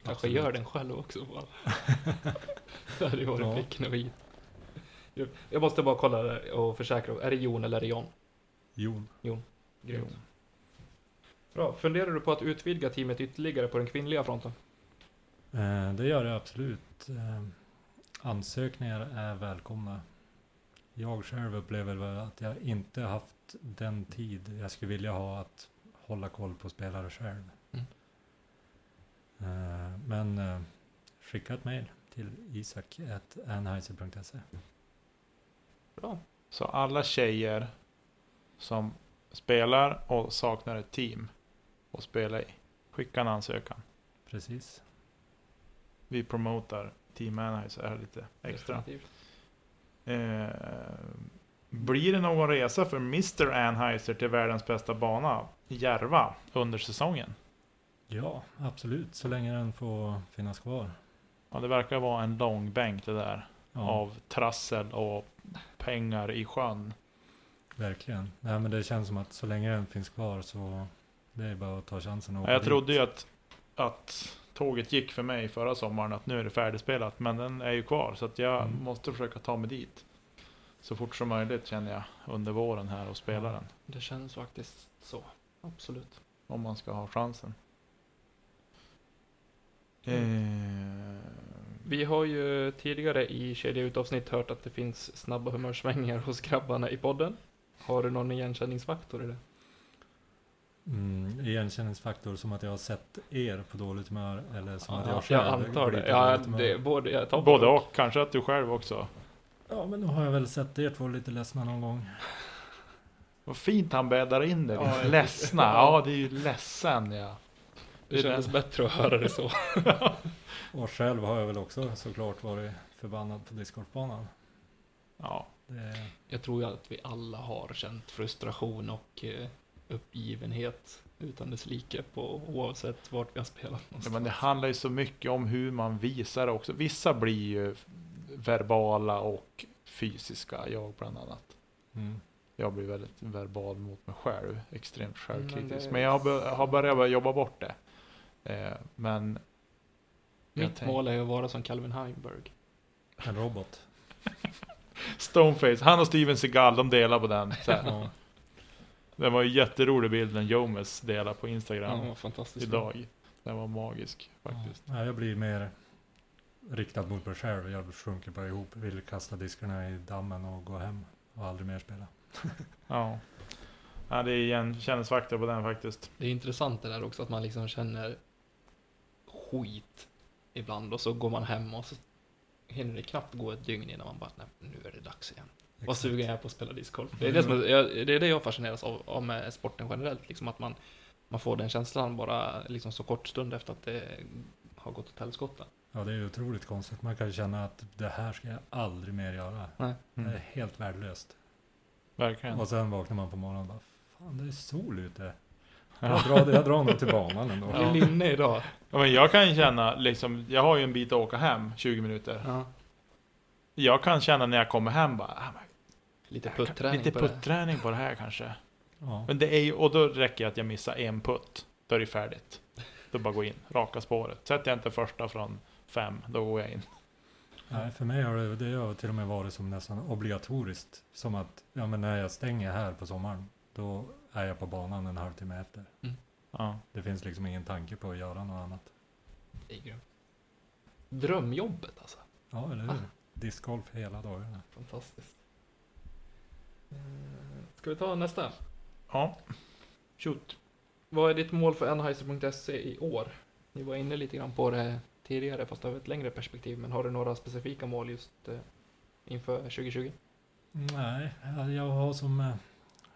S4: Kanske
S7: Absolut.
S4: gör den själv också bara. det hade ju varit
S7: Ja.
S4: pricken över i. Jag måste bara kolla där och försäkra. Är det Jon eller är det John?
S7: Jon.
S4: Grymt. Bra. Funderar du på att utvidga teamet ytterligare på den kvinnliga fronten?
S7: Eh, Det gör det absolut. Eh, Ansökningar är välkomna. Jag själv upplever väl att jag inte haft den tid jag skulle vilja ha att hålla koll på spelare själv.
S4: Mm.
S7: Eh, Men eh, skicka ett mejl till isak.anheiser.se.
S4: Bra.
S5: Så alla tjejer som spelar och saknar ett team att spela i, skicka en ansökan.
S7: Precis.
S5: Vi promotar Team Anheuser här lite extra.
S4: Definitivt.
S5: Eh, blir det någon resa för Mr Anheuser till världens bästa bana, Järva, under säsongen?
S7: Ja, absolut. Så länge den får finnas kvar.
S5: Ja, det verkar vara en lång bänk det där.
S7: Ja,
S5: Av trassel och pengar i sjön.
S7: verkligen. Nej, men det känns som att så länge den finns kvar så det är bara att ta chansen och
S5: Ja, jag
S7: dit.
S5: trodde ju att, att tåget gick för mig förra sommaren, att nu är det färdigspelat. Men den är ju kvar, så att jag
S7: Mm.
S5: måste försöka ta mig dit. Så fort som möjligt känner jag under våren här och spela den.
S4: Det känns faktiskt så. Absolut.
S5: Om man ska ha chansen.
S7: Mm.
S5: Eh,
S4: Vi har ju tidigare i Kedja Ut-avsnitt hört att det finns snabba humörsvängningar hos grabbarna i podden. Har du någon igenkänningsfaktor i det?
S7: Mm, igenkänningsfaktor som att jag har sett er på dåligt humör eller som att jag själv
S4: jag antar
S7: blir
S4: det.
S7: på
S4: Ja,
S7: dåligt humör.
S4: det både, jag tar
S5: Både och, kanske att du själv också.
S7: Ja, men då har jag väl sett er två lite ledsna någon gång.
S5: Vad fint han bäddar in det.
S4: Ja, jag-
S5: Ledsna, ja det är ju ledsen ja.
S4: Det kändes bättre att höra det så.
S7: Och själv har jag väl också såklart varit förbannad på discgolfbanan.
S5: Ja,
S7: Det-
S4: Jag tror ju att vi alla har känt frustration och eh, uppgivenhet utan dess like på oavsett vart vi har spelat
S5: Ja,
S4: någonstans.
S5: men det handlar ju så mycket om hur man visar det också. Vissa blir ju verbala och fysiska, jag bland annat.
S7: Mm.
S5: Jag blir väldigt verbal mot mig själv, extremt självkritisk. Men,
S4: det-
S5: jag har, bör- har börjat jobba bort det. Eh, men... jag
S4: Mitt
S5: tänk-
S4: mål är ju att vara som Calvin Heimberg.
S7: En robot.
S5: Stoneface, han och Steven Seagal, de delar på den. Så här.
S7: Ja.
S5: Den var ju jätterolig bilden Jomes delade på Instagram
S8: Ja, fantastiskt. bra.
S5: idag. Den var magisk faktiskt.
S7: Ja, nej, jag blir mer riktad mot mig själv. Jag sjunker bara ihop, vill kasta diskarna i dammen och gå hem och aldrig mer spela.
S5: Ja. ja det är igenkänningsfaktor på den faktiskt.
S4: Det är intressant det där också att man liksom känner skit ibland och så går man hem och så hinner det knappt gå ett dygn innan man bara, nej nu är det dags igen. Vad sugen jag är på att spela discgolf. Det är det, som, är- jag, det, är det jag fascineras av, av med sporten generellt, liksom att man, man får den känslan bara liksom så kort stund efter att det har gått åt helskotta.
S7: Ja, det är ju otroligt konstigt. Man kan ju känna att det här ska jag aldrig mer göra.
S4: Nej.
S7: Det är
S5: Mm.
S7: helt värdelöst.
S5: Verkligen.
S7: Och sen vaknar man på morgonen och bara, fan det är sol ute. Jag drar, jag drar nog till banan ändå.
S4: Ja. Linne idag.
S5: Ja, men jag kan känna liksom, jag har ju en bit att åka hem, 20 minuter. Jag kan känna när jag kommer hem bara, ah, men
S4: Lite
S5: jag kan-
S4: putträning
S5: lite
S4: på det.
S5: putträning på det här kanske.
S7: Ja.
S5: Men det är ju, och då räcker det att jag missar en putt. Då är det färdigt. Då bara gå in, raka spåret. Sätter jag inte första från fem, då går jag in.
S7: Nej, för mig har det, det har till och med varit som nästan obligatoriskt. Som att ja, men när jag stänger här på sommaren, då är jag på banan en halvtimme efter.
S5: Ja.
S7: Det finns liksom ingen tanke på att göra något annat.
S4: Det är grymt. Drömjobbet alltså.
S7: Ja, eller hur? Discgolf hela dagarna.
S4: Fantastiskt. Eh, Ska vi ta nästa?
S5: ja. Shoot.
S4: Vad är ditt mål för Anheuser.se E i år? Ni var inne lite grann på det tidigare, fast av ett längre perspektiv. Men har du några specifika mål just eh, inför 2020?
S7: Nej, jag- jag har som eh,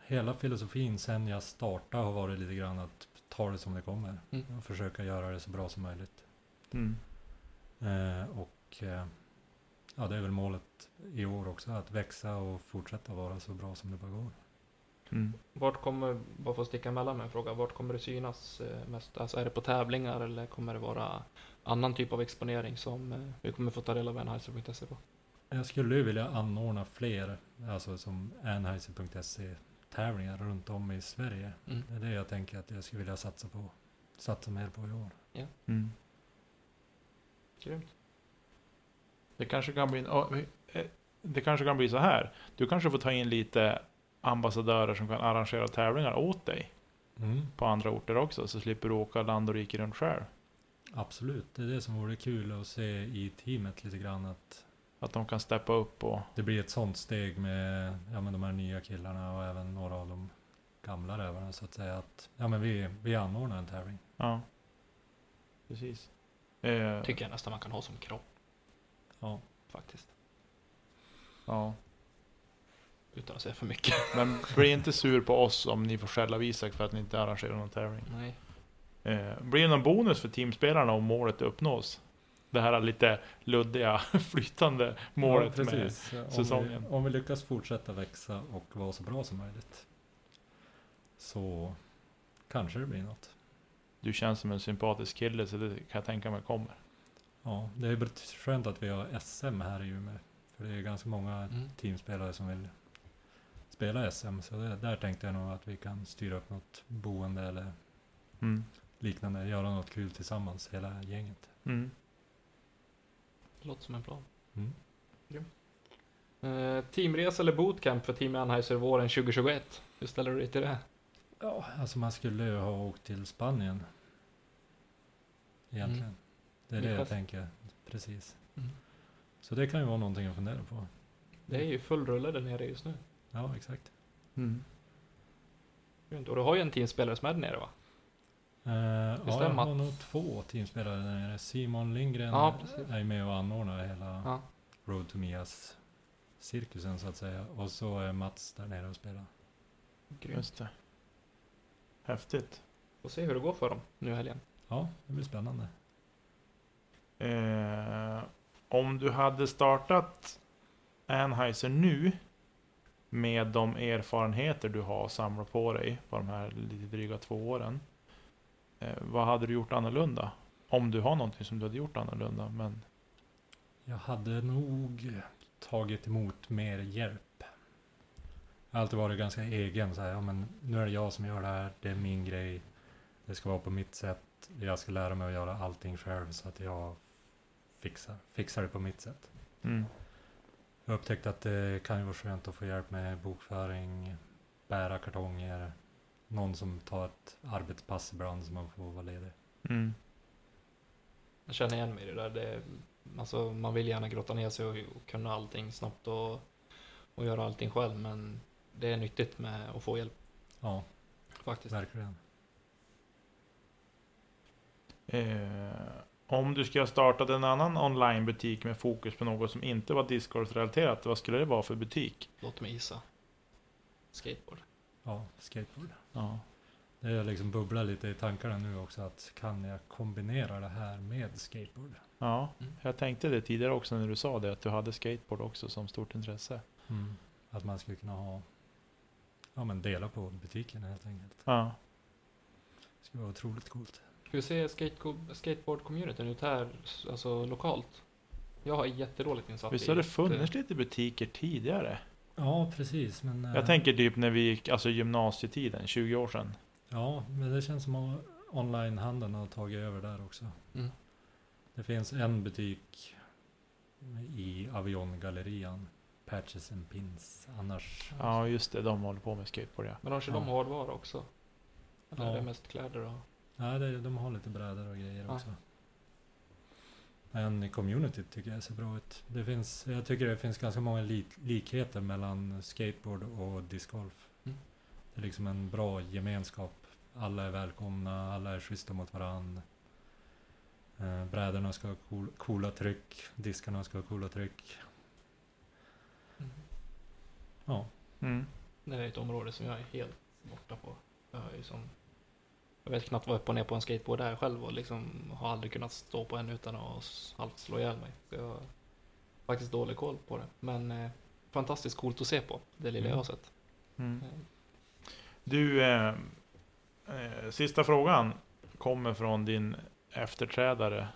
S7: hela filosofin sen jag startade har varit lite grann att ta det som det kommer.
S4: Mm.
S7: Och försöka göra det så bra som möjligt.
S5: Mm.
S7: Eh, och eh, ja, det är väl målet i år också, att växa och fortsätta vara så bra som det bara går.
S5: Mm.
S4: Vart kommer, bara för att sticka emellan med en fråga, vart kommer det synas eh, mest? Alltså är det på tävlingar eller kommer det vara annan typ av exponering som eh, vi kommer få ta del av Anheuser.se på?
S7: Jag skulle ju vilja anordna fler, alltså som Anheuser.se tävlingar runt om i Sverige.
S4: Mm.
S7: Det är det jag tänker att jag skulle vilja satsa på. Satsa mer på i år.
S5: Mm.
S4: Grymt.
S5: Det kanske kan bli en, ja, eh, Det kanske kan bli så här. Du kanske får ta in lite ambassadörer som kan arrangera tävlingar åt dig
S7: Mm,
S5: på andra orter också, så slipper du åka land och rike runt själv.
S7: absolut, det är det som vore kul att se i teamet lite grann att
S5: Att de kan steppa upp och...
S7: det blir ett sånt steg med ja, men de här nya killarna och även några av de gamla rävarna så att säga att ja, men vi, vi anordnar en tävling.
S5: Ja. Precis. Eh,
S4: Tycker jag nästan man kan ha som krav
S7: Ja.
S4: faktiskt.
S5: ja.
S4: Utan att säga för mycket.
S5: Men bli inte sur på oss om ni får skälla av Isak för att ni inte arrangerar någon tävling.
S4: Nej.
S5: Eh, blir det någon bonus för teamspelarna om målet uppnås? Det här lite luddiga, flytande målet
S7: Ja,
S5: med...
S7: precis.
S5: säsongen.
S7: Om vi, om vi lyckas fortsätta växa och vara så bra som möjligt så kanske det blir något.
S5: Du känns som en sympatisk kille så det kan jag tänka mig kommer.
S7: Ja, det är bet- skönt att vi har SM här i Umeå. För det är ganska många
S4: Mm.
S7: teamspelare som vill spela SM. Så det, där tänkte jag nog att vi kan styra upp något boende eller
S5: Mm.
S7: liknande. Göra något kul tillsammans, hela gänget.
S5: Mm.
S4: Låter som en plan.
S7: Mm.
S4: Eh, teamresa eller bootcamp för Team Anheuser våren 2021? Hur ställer du dig till det?
S7: Ja, alltså man skulle ju ha åkt till Spanien. Egentligen. Det är det jag
S4: Mm. Lyckas.
S7: tänker. Precis.
S4: Mm.
S7: Så det kan ju vara någonting att fundera på.
S4: Det är ju full rulle där nere just nu.
S7: Ja, exakt.
S5: Mm.
S4: Grymt. Och du har ju en teamspelare som är där nere va?
S7: Eh, ja, jag
S4: stämmer.
S7: har nog två teamspelare där nere. Simon Lindgren
S4: Ja, precis.
S7: är med och anordnar hela
S4: Ja.
S7: Road to Mias cirkusen så att säga. Och så är Mats där nere och spelar.
S5: Just det. Häftigt.
S4: Får se hur det går för dem nu i helgen.
S7: Ja, det blir spännande.
S5: Eh, om du hade startat Anheuser nu med de erfarenheter du har samlat på dig på de här lite dryga två åren. Eh, vad hade du gjort annorlunda? Om du har någonting som du hade gjort annorlunda. Men,
S7: Jag hade nog tagit emot mer hjälp. Jag har alltid varit ganska egen. Så här, ja, men nu är det jag som gör det här. Det är min grej. Det ska vara på mitt sätt. Jag ska lära mig att göra allting själv så att jag fixar, fixar det på mitt sätt.
S5: mm,
S7: Jag upptäckte att det kan ju vara skönt att få hjälp med bokföring, bära kartonger, någon som tar ett arbetspass ibland så man får vara ledig.
S5: Mm.
S4: Jag känner igen mig i det där. Det, är- alltså, man vill gärna grotta ner sig och, och kunna allting snabbt och, och göra allting själv. Men det är nyttigt med att få hjälp
S7: Ja,
S4: faktiskt.
S7: verkligen.
S5: Eh, om du skulle ha startat en annan onlinebutik med fokus på något som inte var discgolf-relaterat, vad skulle det vara för butik?
S4: Låt mig gissa. Skateboard.
S7: Ja, skateboard.
S5: Ja.
S7: Det är liksom bubblar lite i tankarna nu också att kan jag kombinera det här med skateboard?
S5: ja,
S4: Mm.
S5: jag tänkte det tidigare också när du sa det, att du hade skateboard också som stort intresse.
S7: Mm. Att man skulle kunna ha, ja men dela på butiken helt enkelt.
S5: Ja.
S7: Det skulle vara otroligt coolt.
S4: Hur ser skateko- skateboard-communityn ut här, alltså lokalt? Jag är jättedåligt insatt
S5: Visst har det
S4: ett,
S5: funnits
S4: eh,
S5: lite butiker tidigare?
S7: Ja, precis. Men, eh,
S5: Jag tänker typ när vi gick, alltså gymnasietiden, 20 år sedan.
S7: Ja, men det känns som att onlinehandeln har tagit över där också.
S4: Mm.
S7: Det finns en butik i Avion-gallerian, Patches and Pins. Annars,
S5: Ja, just det, de håller på med skateboard ja.
S4: Men har inte de
S7: Ja.
S4: hårdvara också? Eller
S7: Ja.
S4: är det mest kläder och...
S7: nej, det, de har lite brädor och grejer
S4: Ja.
S7: också. Men communityt tycker jag ser bra ut. Det finns, jag tycker det finns ganska många lik, likheter mellan skateboard och discgolf.
S4: Mm.
S7: Det är liksom en bra gemenskap. Alla är välkomna, alla är schyssta mot varandra. Eh, brädorna ska ha cool, coola tryck, diskarna ska ha coola tryck.
S4: Mm.
S7: Ja,
S5: Mm.
S4: Det är ett område som jag är helt borta på. Jag, är ju som, jag vet knappt vad upp och ner på en skateboard är själv och liksom har aldrig kunnat stå på en utan att s- halvt slå ihjäl mig. Så jag har faktiskt dålig koll på det. Men eh, fantastiskt coolt att se på, det lilla jag har sett.
S5: Mm.
S4: Eh,
S5: Du, eh, eh, sista frågan kommer från din efterträdare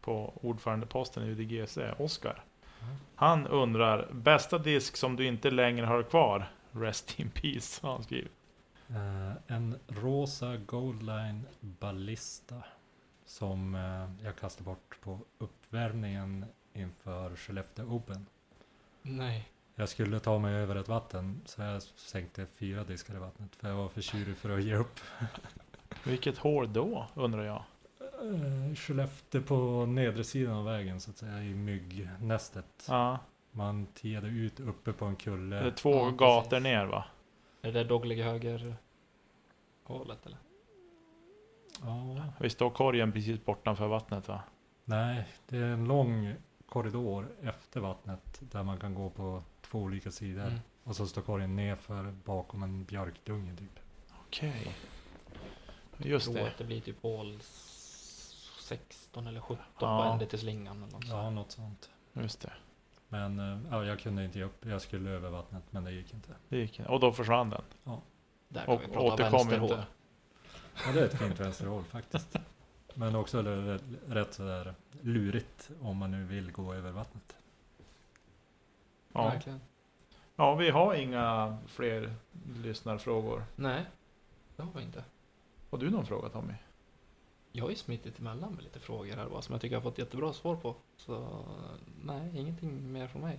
S5: på ordförandeposten i UDGC, Oskar.
S7: Mm.
S5: Han undrar, bästa disk som du inte längre har kvar? Rest in peace, har han skrivit.
S7: Eh, en rosa Goldline Ballista som eh, jag kastade bort på uppvärmningen inför Skellefteå Open.
S4: Nej.
S7: Jag skulle ta mig över ett vatten så jag sänkte fyra diskar i vattnet för jag var för tjurig för att ge upp.
S5: Vilket hår då, undrar jag.
S7: Eh, Skellefteå på nedre sidan av vägen så att säga i myggnästet.
S5: Ja,
S7: Man tiade ut uppe på en
S5: det är
S7: kulle.
S5: två
S4: Ja, precis.
S5: gator ner va?
S4: Är det där dogleg höger hålet eller?
S7: Ja,
S5: Visst står korgen precis bortanför vattnet va?
S7: Nej, det är en lång korridor efter vattnet där man kan gå på två olika sidor.
S4: Mm.
S7: Och så står korgen nerför bakom en björkdunge typ.
S5: Okej. Just
S4: Jag tror
S5: det.
S4: att det blir typ hål s- 16 eller 17
S5: Ja.
S4: på ände till slingan eller något
S7: Ja, något sånt.
S5: Just det.
S7: Men eh, ja, jag kunde inte ge upp. Jag skulle över vattnet, men det gick inte.
S5: det gick, och då försvann den.
S4: Där
S5: Och
S4: kan vi prata
S5: återkom
S4: vänsterhål.
S5: inte.
S7: Ja, det är ett fint vänsterhål faktiskt. Men också r- r- rätt sådär lurigt om man nu vill gå över vattnet.
S5: Ja.
S4: Verkligen.
S5: ja, vi har inga fler lyssnarfrågor.
S4: Nej, det har vi inte.
S5: Har du någon fråga Tommy?
S4: Jag har ju smitit emellan med lite frågor här bara, som jag tycker jag har fått jättebra svar på. Så nej, ingenting mer från mig.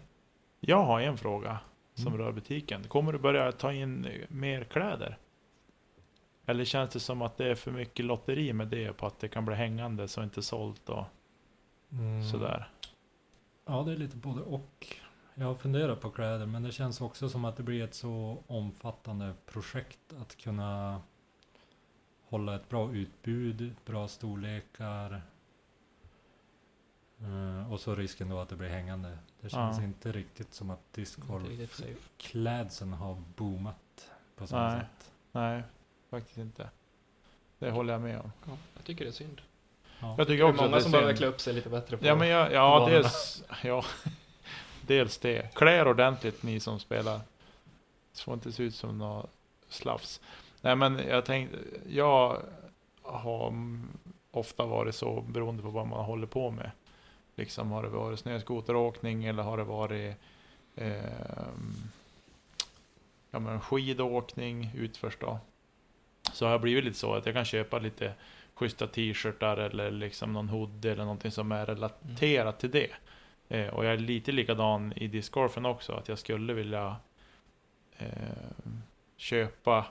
S5: Jag har en fråga som
S7: Mm.
S5: rör butiken. Kommer du börja ta in eh, mer kläder? Eller känns det som att det är för mycket lotteri med det på att det kan bli hängande så inte sålt och
S7: Mm.
S5: sådär?
S7: Ja, det är lite både och. Jag har funderat på kläder, men det känns också som att det blir ett så omfattande projekt att kunna hålla ett bra utbud, bra storlekar. Eh, och så risken då att det blir hängande. Det känns
S5: Ja.
S7: inte riktigt som att
S4: Inte riktigt safe.
S7: discgolf-klädseln har boomat på samma
S5: Nej.
S7: sätt.
S5: Nej, faktiskt inte. Det håller jag med om.
S4: Ja, jag tycker det är synd.
S5: Jag tycker
S4: Det är
S5: också
S4: många
S5: att
S4: som
S5: det
S4: behöver
S5: är
S4: klä
S5: synd.
S4: upp sig lite bättre på
S5: Ja, men jag, ja,
S4: banorna.
S5: dels, ja, dels det. Klä er ordentligt ni som spelar. Så får inte se ut som något slafs. Nej, men jag tänkte, jag har mm, ofta varit så beroende på vad man håller på med. Liksom har det varit snöskoteråkning eller har det varit ehm, ja, men skidåkning utförs då. Så har jag blivit lite så att jag kan köpa lite schyssta t-shirtar eller liksom någon hoodie eller någonting som är relaterat till det. Eh, och jag är lite likadan i discgolfen också, att jag skulle vilja eh, köpa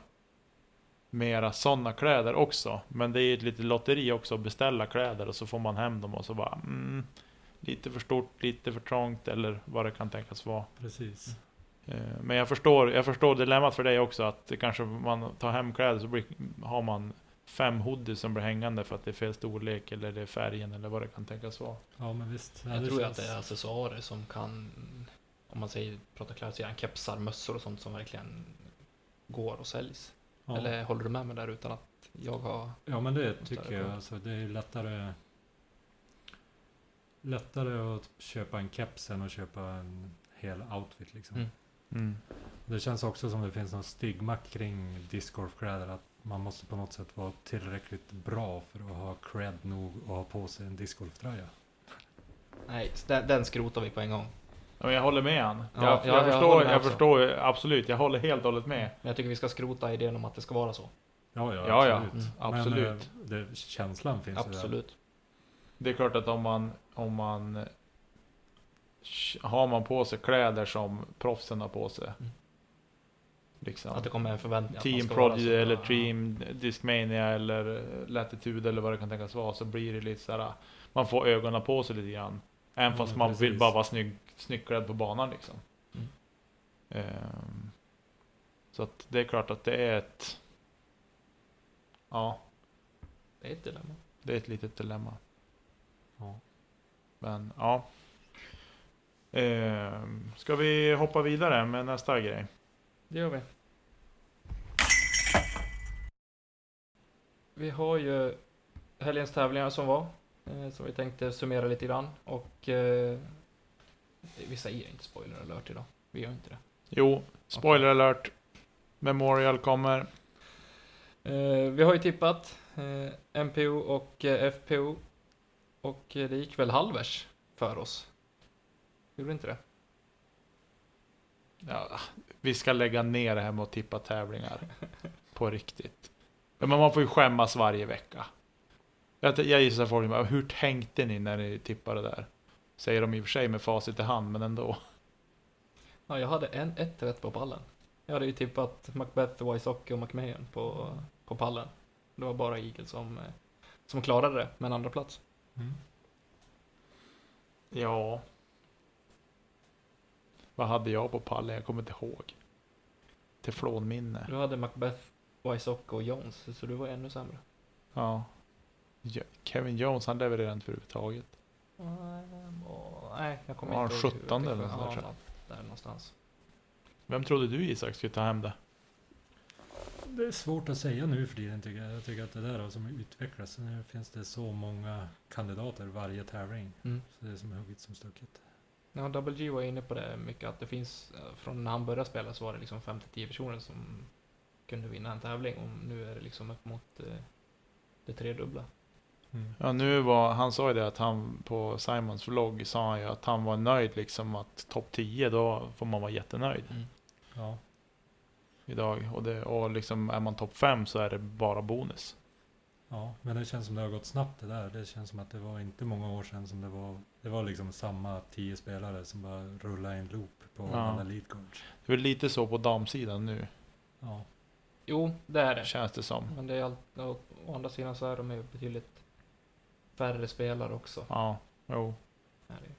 S5: mera sådana kläder också. Men det är ju ett litet lotteri också att beställa kläder och så får man hem dem och så bara mm, lite för stort, lite för trångt eller vad det kan tänkas vara.
S7: Precis.
S5: Eh, Men jag förstår, jag förstår dilemmat för dig också att det kanske man tar hem kläder så blir, har man fem hoodies som blir hängande för att det är fel storlek eller det är färgen eller vad det kan tänkas vara.
S7: Ja men visst. Ja,
S4: Jag tror ju att
S7: känns-
S4: det är accessoarer som kan, om man säger, pratar kläder, så är det kepsar, mössor och sånt som verkligen går och säljs.
S7: ja.
S4: Eller håller du med mig där utan att jag har...
S7: Ja men det
S4: Större
S7: tycker jag.
S4: kund.
S7: Alltså, det är ju lättare lättare att köpa en keps än att köpa en hel outfit. Liksom.
S4: Mm.
S7: Det känns också som det finns någon stigma kring discgolfkläder. Att man måste på något sätt vara tillräckligt bra för att ha cred nog och ha på sig en discgolftröja.
S4: Nej, s- den, den skrotar vi på en gång.
S5: Ja, men jag håller med han.
S4: Ja,
S5: jag,
S4: ja,
S5: jag,
S4: jag
S5: förstår,
S4: håller
S5: jag,
S4: med också.
S5: förstår ju, absolut. Jag håller helt och hållet med.
S4: Men jag tycker vi ska skrota idén om att det ska vara så.
S7: Ja, ja,
S5: Ja, ja.
S7: absolut.
S4: Mm,
S7: Men,
S5: absolut.
S7: eh, det, känslan finns ju där.
S4: Absolut.
S5: Det är klart att om man, om man eh, har man på sig kläder som proffsen har på sig.
S4: Mm.
S5: Liksom.
S4: Att det kommer en förväntning. att man
S5: Team
S4: ska vara
S5: Prodigy
S4: så.
S5: eller
S4: Ja.
S5: Dream Discmania eller Latitude eller vad det kan tänkas vara så blir det lite såhär Man får ögonen på sig lite grann Även
S7: Ja,
S5: fast
S7: men
S5: man vill
S7: precis.
S5: bara vara snygg, snygg klädd på banan liksom
S4: Mm.
S5: Ehm, Så att det är klart att det är ett Ja,
S4: Det är ett dilemma.
S5: det är ett litet dilemma
S7: Ja.
S5: Men ja Ehm, Ska vi hoppa vidare med nästa grej?
S4: Det gör vi. Vi har ju helgens tävlingar som var, eh, som vi tänkte summera lite grann. Och eh, vi säger inte spoiler alert idag. Vi gör inte det.
S5: Jo, spoiler alert Memorial kommer
S4: Eh, vi har ju tippat eh, MPO och eh, FPO. Och eh, det gick väl halvers för oss? Gjorde det inte det?
S5: Ja, vi ska lägga ner det här med att tippa tävlingar. På riktigt. Men man får ju skämmas varje vecka. Jag, jag gissar folk bara, hur tänkte ni när ni tippade där? Säger de i och för sig med facit i hand, men ändå.
S4: Ja, jag hade en, ett rätt på pallen. Jag hade ju tippat Macbeth, Wysocki och McMahon på, på pallen. Det var bara Eagle som, eh, som klarade det med en andra plats.
S7: Mm.
S5: Ja. Vad hade jag på pallen? Jag kommer inte ihåg. Teflonminne.
S4: Du hade Macbeth, Wysocki och Jones, så du var ännu sämre.
S5: Ja. Ja, Kevin Jones, han levererar inte överhuvudtaget.
S4: Mm, och, nej, jag kommer
S5: Var
S4: inte
S5: han
S4: ihåg hur-
S5: 17 eller något
S4: ja,
S5: sånt där?
S4: något där någonstans.
S5: Vem trodde du Isak skulle ta hem det?
S7: Det är svårt att säga nu för tiden tycker jag. Jag tycker att det där har som utvecklats. Nu finns det så många kandidater varje tävling.
S4: Mm.
S7: Så det är som hugget som stucket.
S4: Ja, Double G var inne på det mycket, att det finns, eh, från när han började spela så var det liksom 5-10 personer som kunde vinna en tävling och nu är det liksom upp mot eh, det tredubbla.
S5: Ja, nu var, han sa ju det att han på Simons vlogg sa han ju att han var nöjd liksom att topp 10 då får man vara jättenöjd
S7: Ja,
S5: idag. Och, det, och liksom är man topp 5 så är det bara bonus.
S7: ja, men det känns som det har gått snabbt det där. Det känns som att det var inte många år sedan som det var. Det var liksom samma tio spelare som bara rullade en loop på
S5: Ja.
S7: alla lead cards.
S5: Det är väl lite så på damsidan nu,
S7: Ja,
S4: Jo, det är det.
S5: känns det som.
S4: Men det är allt, å, å andra sidan så är de ju betydligt färre spelare också.
S5: Ja, jo.
S4: Är det ju.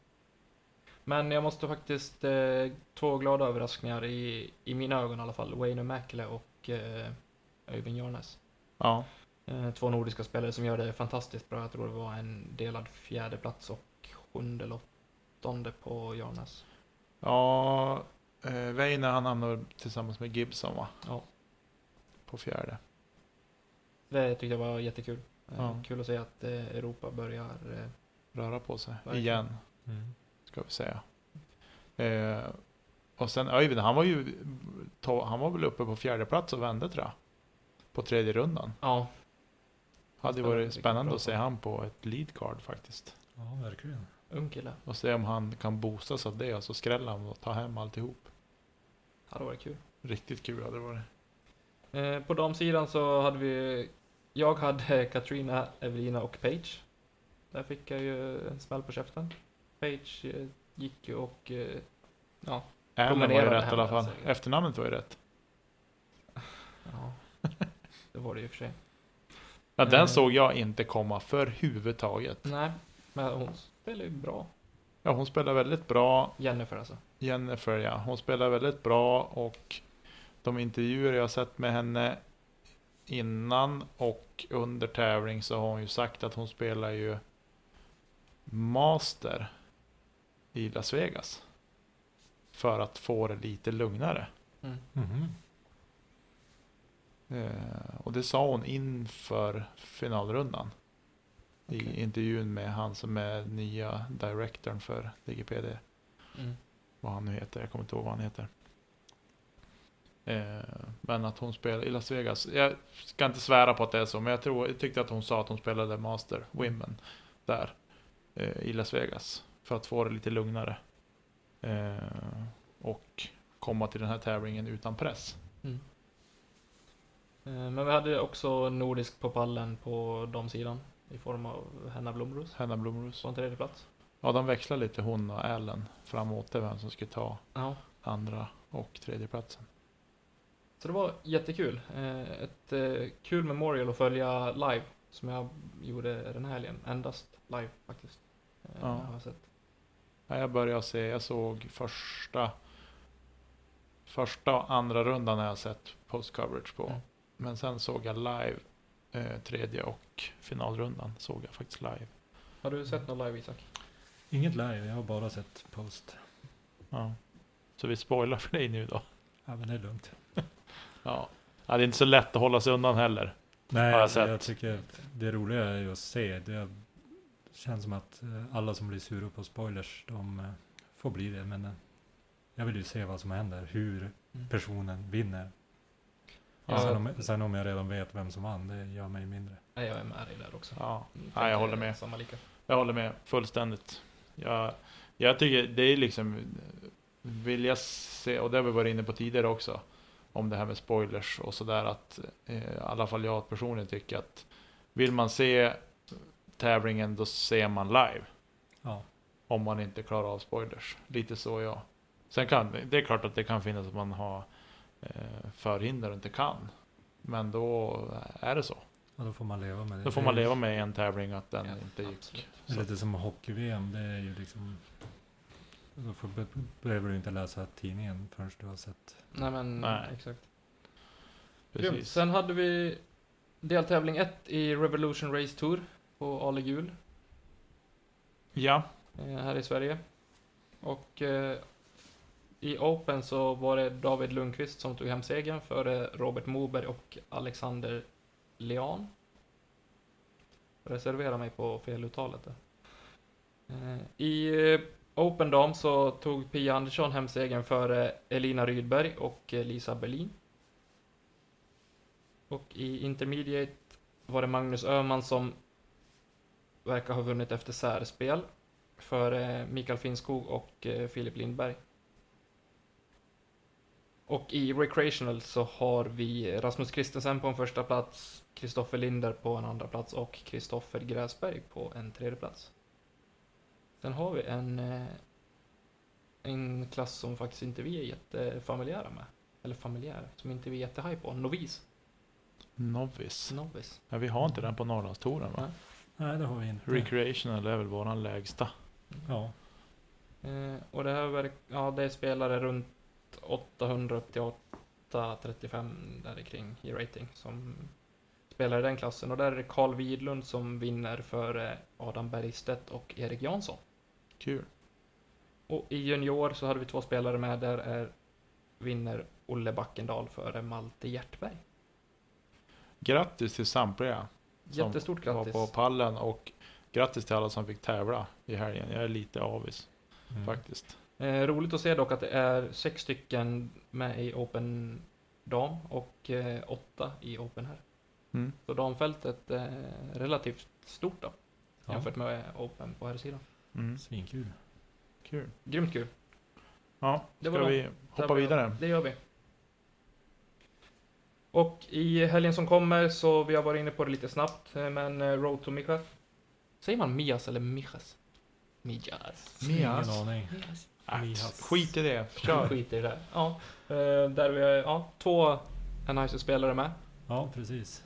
S4: Men jag måste faktiskt, eh, två glada överraskningar i, i mina ögon i alla fall. Wayne Mäkelä och eh, Öyvind Jarnes.
S5: Ja,
S4: Eh, två nordiska spelare som gör det fantastiskt bra. Jag tror det var en delad fjärde plats och sjunde eller åttonde på Jarnes.
S5: ja eh, Weiner han hamnade väl tillsammans med Gibson va?
S4: Ja.
S5: På fjärde.
S4: Det tyckte jag var jättekul. Eh,
S5: Ja.
S4: Kul att se att eh, Europa börjar eh,
S5: Röra på sig
S4: Verkligen.
S5: igen.
S7: Mm.
S5: ska vi säga. Eh, och sen Öyvind, han var ju to- han var väl uppe på fjärde plats och vände tror jag. På tredje rundan.
S4: ja,
S5: Hade ju
S4: Spännande,
S5: varit
S4: vilken
S5: spännande
S4: bra
S5: att se
S4: form.
S5: han på ett lead card faktiskt.
S7: ja verkligen.
S4: ung kille.
S5: Och se om han kan boostas av det och så skräller han och tar hem alltihop.
S4: Hade varit kul.
S5: Riktigt kul hade det varit.
S4: Eh, på damsidan så hade vi... Jag hade Katrina, Evelina och Paige. Där fick jag ju en smäll på käften. Paige eh, gick ju och... Eh,
S5: Allen var ju
S4: Dominerade
S5: rätt i alla
S4: henne,
S5: fall.
S4: säger jag.
S5: Efternamnet var ju rätt.
S4: ja, det var det i och för sig.
S5: Ja,
S4: Mm.
S5: den såg jag inte komma för huvudtaget.
S4: Nej, men hon spelar ju bra.
S5: Ja, hon spelar väldigt bra.
S4: Jennifer alltså.
S5: Jennifer ja, hon spelar väldigt bra och de intervjuer jag har sett med henne innan och under tävling så har hon ju sagt att hon spelar ju master i Las Vegas. För att få det lite lugnare.
S7: Mhm.
S5: Eh, och det sa hon inför finalrundan. I intervjun med han som är nya directorn för DGPD.
S4: Mm.
S5: vad han nu heter, jag kommer inte ihåg vad han heter. Eh, men att hon spelar i Las Vegas. Jag ska inte svära på att det är så, men jag, tror, jag tyckte att hon sa att hon spelade Master Women där eh, i Las Vegas. För att få det lite lugnare. Eh, och komma till den här tävlingen utan press.
S4: Eh, Men vi hade ju också nordisk på pallen på damsidan i form av Henna Blomros
S5: Hanna Blomroos.
S4: på en tredje plats.
S5: Ja, de växlar lite hon och Allen framåt det, vem som skulle ta
S4: Ja,
S5: andra och tredje platsen.
S4: så det var jättekul. Eh, Ett eh, kul memorial att följa live som jag gjorde den här helgen. Endast live faktiskt. Eh,
S5: Ja.
S4: Har jag sett.
S5: Ja, jag började se, jag såg första första och andra rundan har jag sett post coverage på.
S4: Mm.
S5: Men sen såg jag live eh, tredje och finalrundan såg jag faktiskt live.
S4: Har du sett något live Isak?
S7: Inget live, jag har bara sett post.
S5: Ja. Så vi spoilar för dig nu då.
S7: Ja, men det är lugnt.
S5: Ja. ja, det är inte så lätt att hålla sig undan heller.
S7: Nej,
S5: Har jag
S7: alltså,
S5: sett.
S7: jag tycker det roliga är ju att se. Det känns som att eh, alla som blir sura på spoilers, de eh, får bli det. Men eh, jag vill ju se vad som händer, hur
S4: Mm.
S7: personen vinner.
S4: Ja.
S7: Sen, om, sen om jag redan vet vem som vann, det gör mig mindre.
S4: Nej, jag är med dig där också.
S5: Ja.
S4: Mm,
S5: Ja, jag
S4: tänker
S5: håller med.
S4: Samma lika.
S5: Jag håller med fullständigt. Jag, jag tycker det är liksom, vill jag se, och det har vi varit inne på tidigare också, om det här med spoilers och sådär att, eh, i alla fall jag personligen tycker att vill man se tävlingen då ser man live.
S7: Ja.
S5: Om man inte klarar av spoilers. Lite så jag. Sen kan, det är klart att det kan finnas att man har eh, förhinder och inte kan. Men då är det så.
S7: Och då får man leva med det.
S5: Då får
S7: Det
S5: man
S7: är ju-
S5: leva med en tävling att den
S4: Ja,
S5: inte gick.
S4: absolut.
S7: Det är lite som hockey-VM, det är ju liksom... Då får, be, behöver du inte läsa tidningen förrän du har sett.
S4: Nej men
S5: Nej.
S4: exakt. Grymt.
S5: Precis.
S4: Sen hade vi deltävling 1 i Revolution Race Tour på Ale Gul
S5: Ja.
S4: eh, här i Sverige. Och eh, i Open så var det David Lundqvist som tog hem segern före Robert Moberg och Alexander Leon. Reservera mig på feluttalet där. Eh, I eh, Open Dam så tog Pia Andersson hem segern före Elina Rydberg och eh, Lisa Berlin. Och i Intermediate var det Magnus Öhman som verkar ha vunnit efter särspel före eh, Mikael Finskog och eh, Filip Lindberg. Och i Recreational så har vi Rasmus Kristensen på en första plats, Kristoffer Linder på en andra plats och Kristoffer Gräsberg på en tredje plats. Sen har vi en, eh, en klass som faktiskt inte vi är jättefamiljära med. Eller familjära, som inte vi är jättehaj på. Novis.
S5: Novice.
S4: Novis.
S5: Ja, vi har inte den på Norrlandstouren va?
S4: Nej.
S7: Nej, det har vi inte.
S5: Recreational är väl våran lägsta.
S7: Ja.
S4: Eh, och det här verk, ja, det är spelare runt 800 upp till 835 där i kring i rating som spelar i den klassen. Och där är det Carl Widlund som vinner före Adam Bergstedt och Erik Jansson.
S5: Kul.
S4: Och i junior så hade vi två spelare med. Där är, vinner Olle Backendal före Malte Hjertberg.
S5: Grattis till samtliga Som
S4: Jättestort
S5: som var
S4: grattis!
S5: på pallen och grattis till alla som fick tävla i helgen. Jag är lite avis
S7: Mm.
S5: faktiskt.
S4: Eh, roligt att se dock att det är sex stycken med i Open Dam och eh, åtta i Open här.
S5: Mm.
S4: Så damfältet eh, relativt stort då,
S7: Ja.
S4: jämfört med Open på här sidan.
S5: Mm.
S7: Svinkul.
S5: Kul.
S4: Grymt kul.
S5: Ja,
S4: Det var
S5: ska
S4: de
S5: vi hoppa
S4: tävlingarna.
S5: vidare?
S4: Det gör vi. Och i helgen som kommer så, vi har varit inne på det lite snabbt, eh, men eh, Road to Mijas. Säger man Mias eller Mijas? Mijas.
S5: Mias.
S7: Ingen aning.
S4: Mijas.
S5: Att,
S7: Mias.
S5: skit i det.
S4: Kör.
S5: Kör.
S4: Skit i det där. Ja, eh, där vi har ja, två NHC-spelare med.
S7: Ja, precis.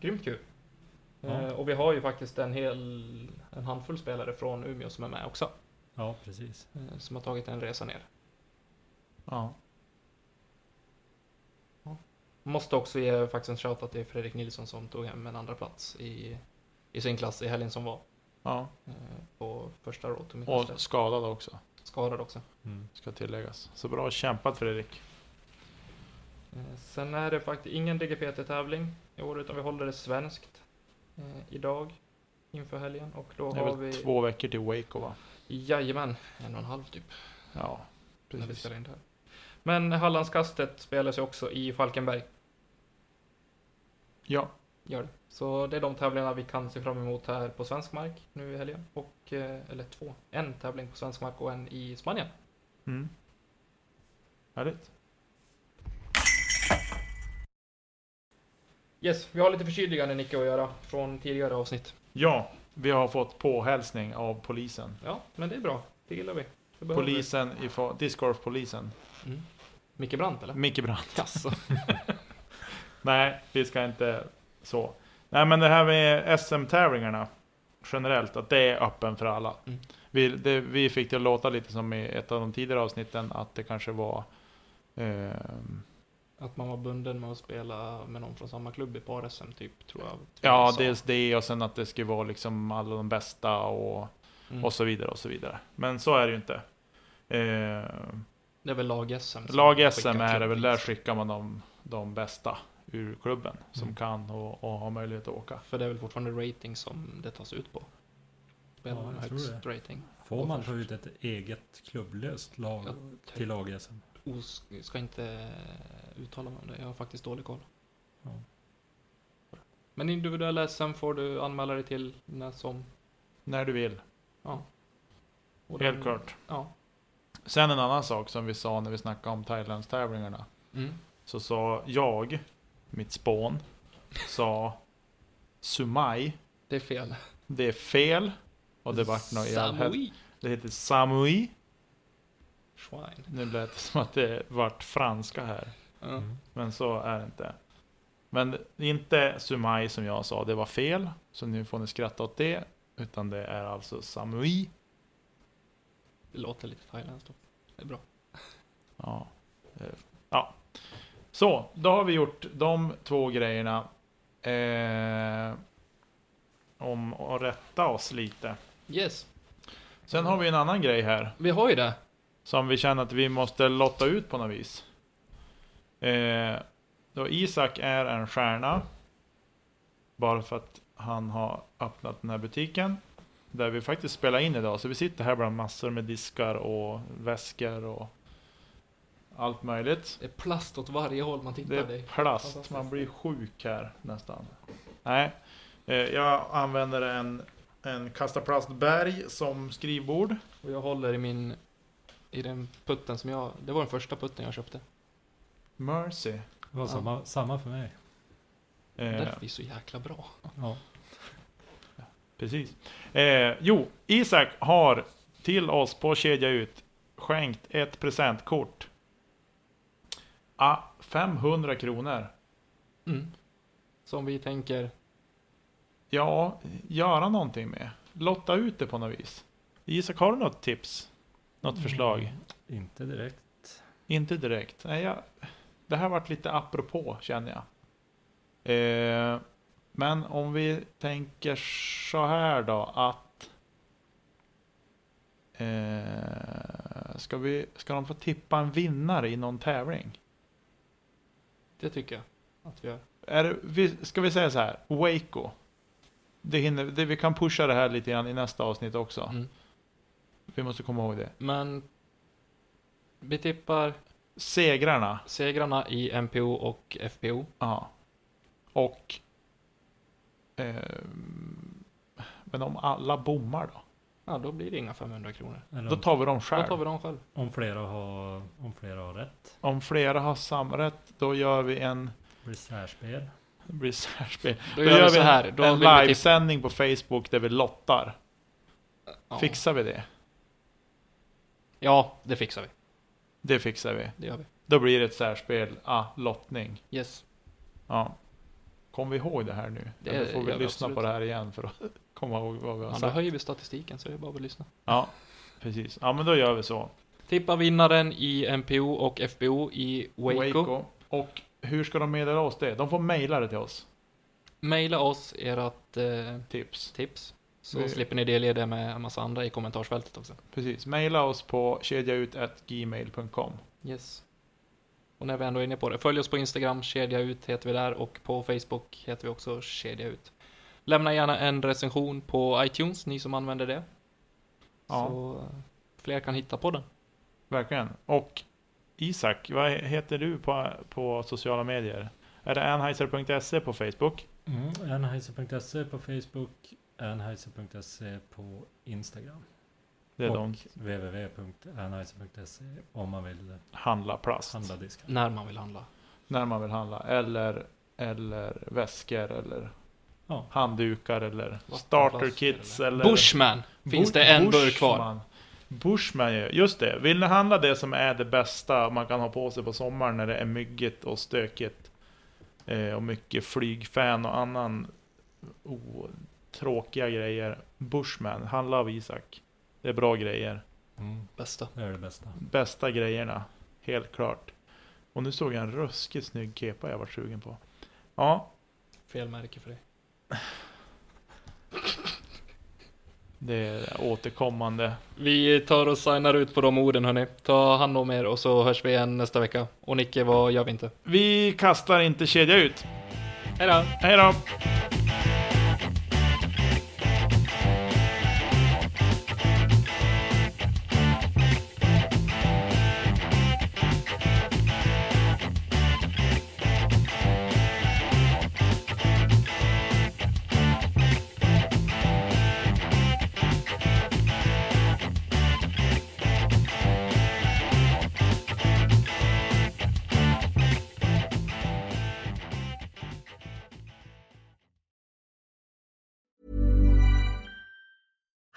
S4: Grymt kul.
S7: Ja.
S4: Eh, och vi har ju faktiskt en hel en handfull spelare från Umeå som är med också.
S7: Ja, precis.
S4: eh, Som har tagit en resa ner.
S5: Ja.
S4: Måste också ge faktiskt en shoutout till Fredrik Nilsson som tog hem en andra plats i, i sin klass i helgen som var.
S5: ja.
S4: eh, På första Road to
S5: Och
S4: Midwest.
S5: skadad också,
S4: Skadad också.
S7: Mm.
S5: ska tilläggas. Så bra kämpat Fredrik.
S4: Eh, Sen är det faktiskt ingen DGPT-tävling i år utan vi håller det svenskt eh, idag inför helgen och då
S5: Det är
S4: har
S5: väl
S4: vi...
S5: två veckor till Waco va?
S4: Jajamän, en och en halv typ.
S5: Ja,
S4: När vi
S5: precis.
S4: spelar in det här. Men Hallandskastet spelas ju också i Falkenberg.
S5: Ja,
S4: Gör det. Så det är de tävlingarna vi kan se fram emot här på svensk mark nu i helgen. Och, eh, eller två. En tävling på svensk mark och en i Spanien.
S5: mm. härligt.
S4: Yes, vi har lite förtydligande Nicke att göra från tidigare avsnitt.
S5: Ja, vi har fått påhälsning av polisen.
S4: Ja, men det är bra. Det gillar vi. Det behöver vi.
S5: Polisen i Fa- discgolfpolisen.
S4: Micke Brandt eller? Alltså,
S5: Micke Brandt.
S4: Jaså?
S5: Nej, vi ska inte så. Nej, men det här med SM-tävlingarna generellt, att det är öppen för alla.
S4: Mm.
S5: Vi, det, vi fick det att låta lite som i ett av de tidigare avsnitten, att det kanske var ehm,
S4: Att man var bunden med att spela med någon från samma klubb i par-SM typ, tror jag.
S5: Ja,
S4: Så.
S5: dels det och sen att det skulle vara liksom alla de bästa och,
S4: Mm.
S5: och så vidare och så vidare. Men så är det ju inte. Eh,
S4: Det är väl lag-SM. som typ
S5: Lag-SM
S4: skickar
S5: är det väl, där
S4: klubbpris.
S5: skickar man de, de bästa ur klubben som
S4: Mm.
S5: kan och, och har möjlighet att åka.
S4: För det är väl fortfarande rating som det tas ut på. Spelar
S7: Ja,
S4: man
S7: jag
S4: högst
S7: tror
S4: rating.
S7: Får man ta ut ett eget klubblöst lag
S4: Jag
S7: till lag-SM?
S4: Os ska inte uttala mig om det, jag har faktiskt dålig koll.
S7: Ja.
S4: Men individuella SM får du anmäla dig till när som.
S5: När du vill,
S4: och
S5: helt
S4: den-
S5: klart.
S4: Ja.
S5: Sen en annan sak som vi sa när vi snackade om Thailandstävlingarna.
S4: Mm.
S5: Så sa jag, mitt spån, sa Sumai,
S4: Det är fel.
S5: det är fel. Och det vart nog i all hel-
S4: Samui
S5: Det heter Samui.
S4: Schwein.
S5: Nu lät det som att det vart franska här,
S4: Ja.
S7: Mm.
S5: men så är det inte. Men inte Sumai som jag sa, det var fel. Så nu får ni skratta åt det. Utan det är alltså Samui.
S4: Det låter lite thailändskt. också. Det är bra.
S5: Ja. Eh, ja. Så, då har vi gjort de två grejerna. Eh, om att rätta oss lite.
S4: Yes,
S5: Sen har vi en annan grej här.
S4: vi har ju det.
S5: Som vi känner att vi måste lotta ut på något vis. Eh, då Isak är en stjärna. Bara för att han har öppnat den här butiken. Där vi faktiskt spelar in idag. Så vi sitter här bland massor med diskar och väskor och allt möjligt.
S4: Det är plast åt varje håll man
S5: Det
S4: tittar.
S5: är plast, man blir sjuk här nästan. Nej, eh, jag använder en, en kasta plastberg som skrivbord.
S4: Och jag håller i min... I den putten som jag... Det var den första putten jag köpte.
S5: Mercy.
S7: Det var
S4: Ja.
S7: samma, samma för mig.
S5: Eh,
S4: Därför är så jäkla bra.
S7: Ja.
S5: Precis. Eh, jo, Isak har till oss på Kedja Ut skänkt ett presentkort. Ah, 500 kronor.
S4: Mm. Som vi tänker,
S5: Ja, göra någonting med. Lotta ut det på något vis. Isak, har du något tips? Något förslag?
S7: Inte direkt.
S5: Inte direkt. Nej, jag, det här varit lite apropå känner jag. Eh, men om vi tänker så här då att eh, ska, vi, ska de få tippa en vinnare i någon tävling?
S4: det tycker jag att vi gör.
S5: Är det, vi, ska vi säga så här, Waco. Det hinner, det, vi kan pusha det här lite grann i nästa avsnitt också.
S4: Mm.
S5: Vi måste komma ihåg det.
S4: Men vi tippar
S5: Segrarna.
S4: segrarna i MPO och FPO.
S5: Ja. Och... Eh, men om alla bommar då?
S4: Ja, då blir det inga 500 kronor.
S7: Eller
S5: Då
S7: om,
S5: tar vi dem
S4: Då
S5: själv.
S4: tar vi dem själv.
S7: om, flera har, om flera har rätt.
S5: Om flera har samrätt, då gör vi en...
S7: Det blir särspel.
S5: Det blir särspel.
S4: Då, gör vi så
S5: en-
S4: här. Då typ-
S5: en
S4: vill vi tippa,
S5: livesändning på Facebook där vi lottar.
S4: ja.
S5: Fixar vi det?
S4: ja, det fixar vi.
S5: Det fixar vi.
S4: Det gör vi.
S5: Då blir det ett särspel, ah, lottning.
S4: Yes.
S5: Ja. Kom vi ihåg det här nu?
S4: Det
S5: Eller får
S4: gör
S5: vi
S4: vi
S5: lyssna på
S4: absolut.
S5: det här igen för att komma ihåg vad vi har
S4: Ja, då
S5: sagt.
S4: höjer vi statistiken så det är bara att lyssna.
S5: Ja, precis. Ja, men då gör vi så.
S4: Tippa vinnaren i MPO och FBO i Waco.
S5: Och hur ska de meddela oss det? De får mejla det till oss.
S4: Maila oss ert eh,
S5: Tips.
S4: tips. Så
S5: Vi-
S4: slipper ni delge det med en massa andra i kommentarsfältet också.
S5: Precis. Mejla oss på kedjaut.gmail.com.
S4: Yes. Och när vi ändå är inne på det, följ oss på Instagram, kedja ut heter vi där och på Facebook heter vi också kedja ut. Lämna gärna en recension på iTunes, ni som använder det.
S5: Ja.
S4: Så eh, fler kan hitta podden.
S5: Verkligen. Och Isak, vad heter du på, på sociala medier? Är det anheiser.se på Facebook?
S8: Mm, Anheuser.se på Facebook, Anheuser.se på Instagram.
S5: Det är
S8: och
S5: de
S8: www.anheuser.se om man vill
S5: handla plast.
S8: handla diskar.
S4: När man vill handla.
S5: När man vill handla. Eller, eller väskor eller
S8: Ja.
S5: handdukar eller
S4: Vattenflaskor
S5: starter kits eller...
S4: Bushman! Finns
S5: Bu-
S4: det en burk kvar?
S5: Bushman. Bushman ju, just det. Vill ni handla det som är det bästa man kan ha på sig på sommaren när det är myggigt och stökigt eh, och mycket flygfän och annan oh, tråkiga grejer. Bushman, handla av Isak. Det är bra grejer.
S7: Mm,
S4: Bästa.
S8: Det är det bästa.
S5: Bästa grejerna, helt klart. Och nu såg jag en ruskigt snygg kepa jag var sugen på. Ja,
S4: Fel märke för dig.
S5: det är återkommande.
S4: Vi tar och signar ut på de orden hörni. Ta hand om er och så hörs vi igen nästa vecka. Och Nicke, vad gör vi inte?
S5: Vi kastar inte kedja ut.
S4: Hej då!
S5: Hej då!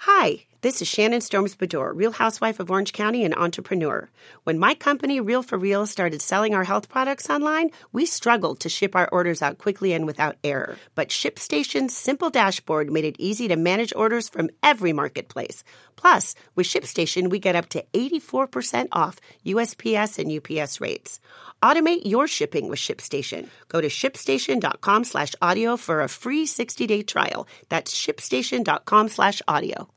S9: Hi, this is Shannon Storms Bedore, Real Housewife of Orange County and entrepreneur. When my company, Real for Real, started selling our health products online, we struggled to ship our orders out quickly and without error. But ShipStation's simple dashboard made it easy to manage orders from every marketplace. Plus, with ShipStation, we get up to 84% off USPS and UPS rates. Automate your shipping with ShipStation. Go to shipstation.com slash audio for a free 60-day trial. That's shipstation.com slash audio.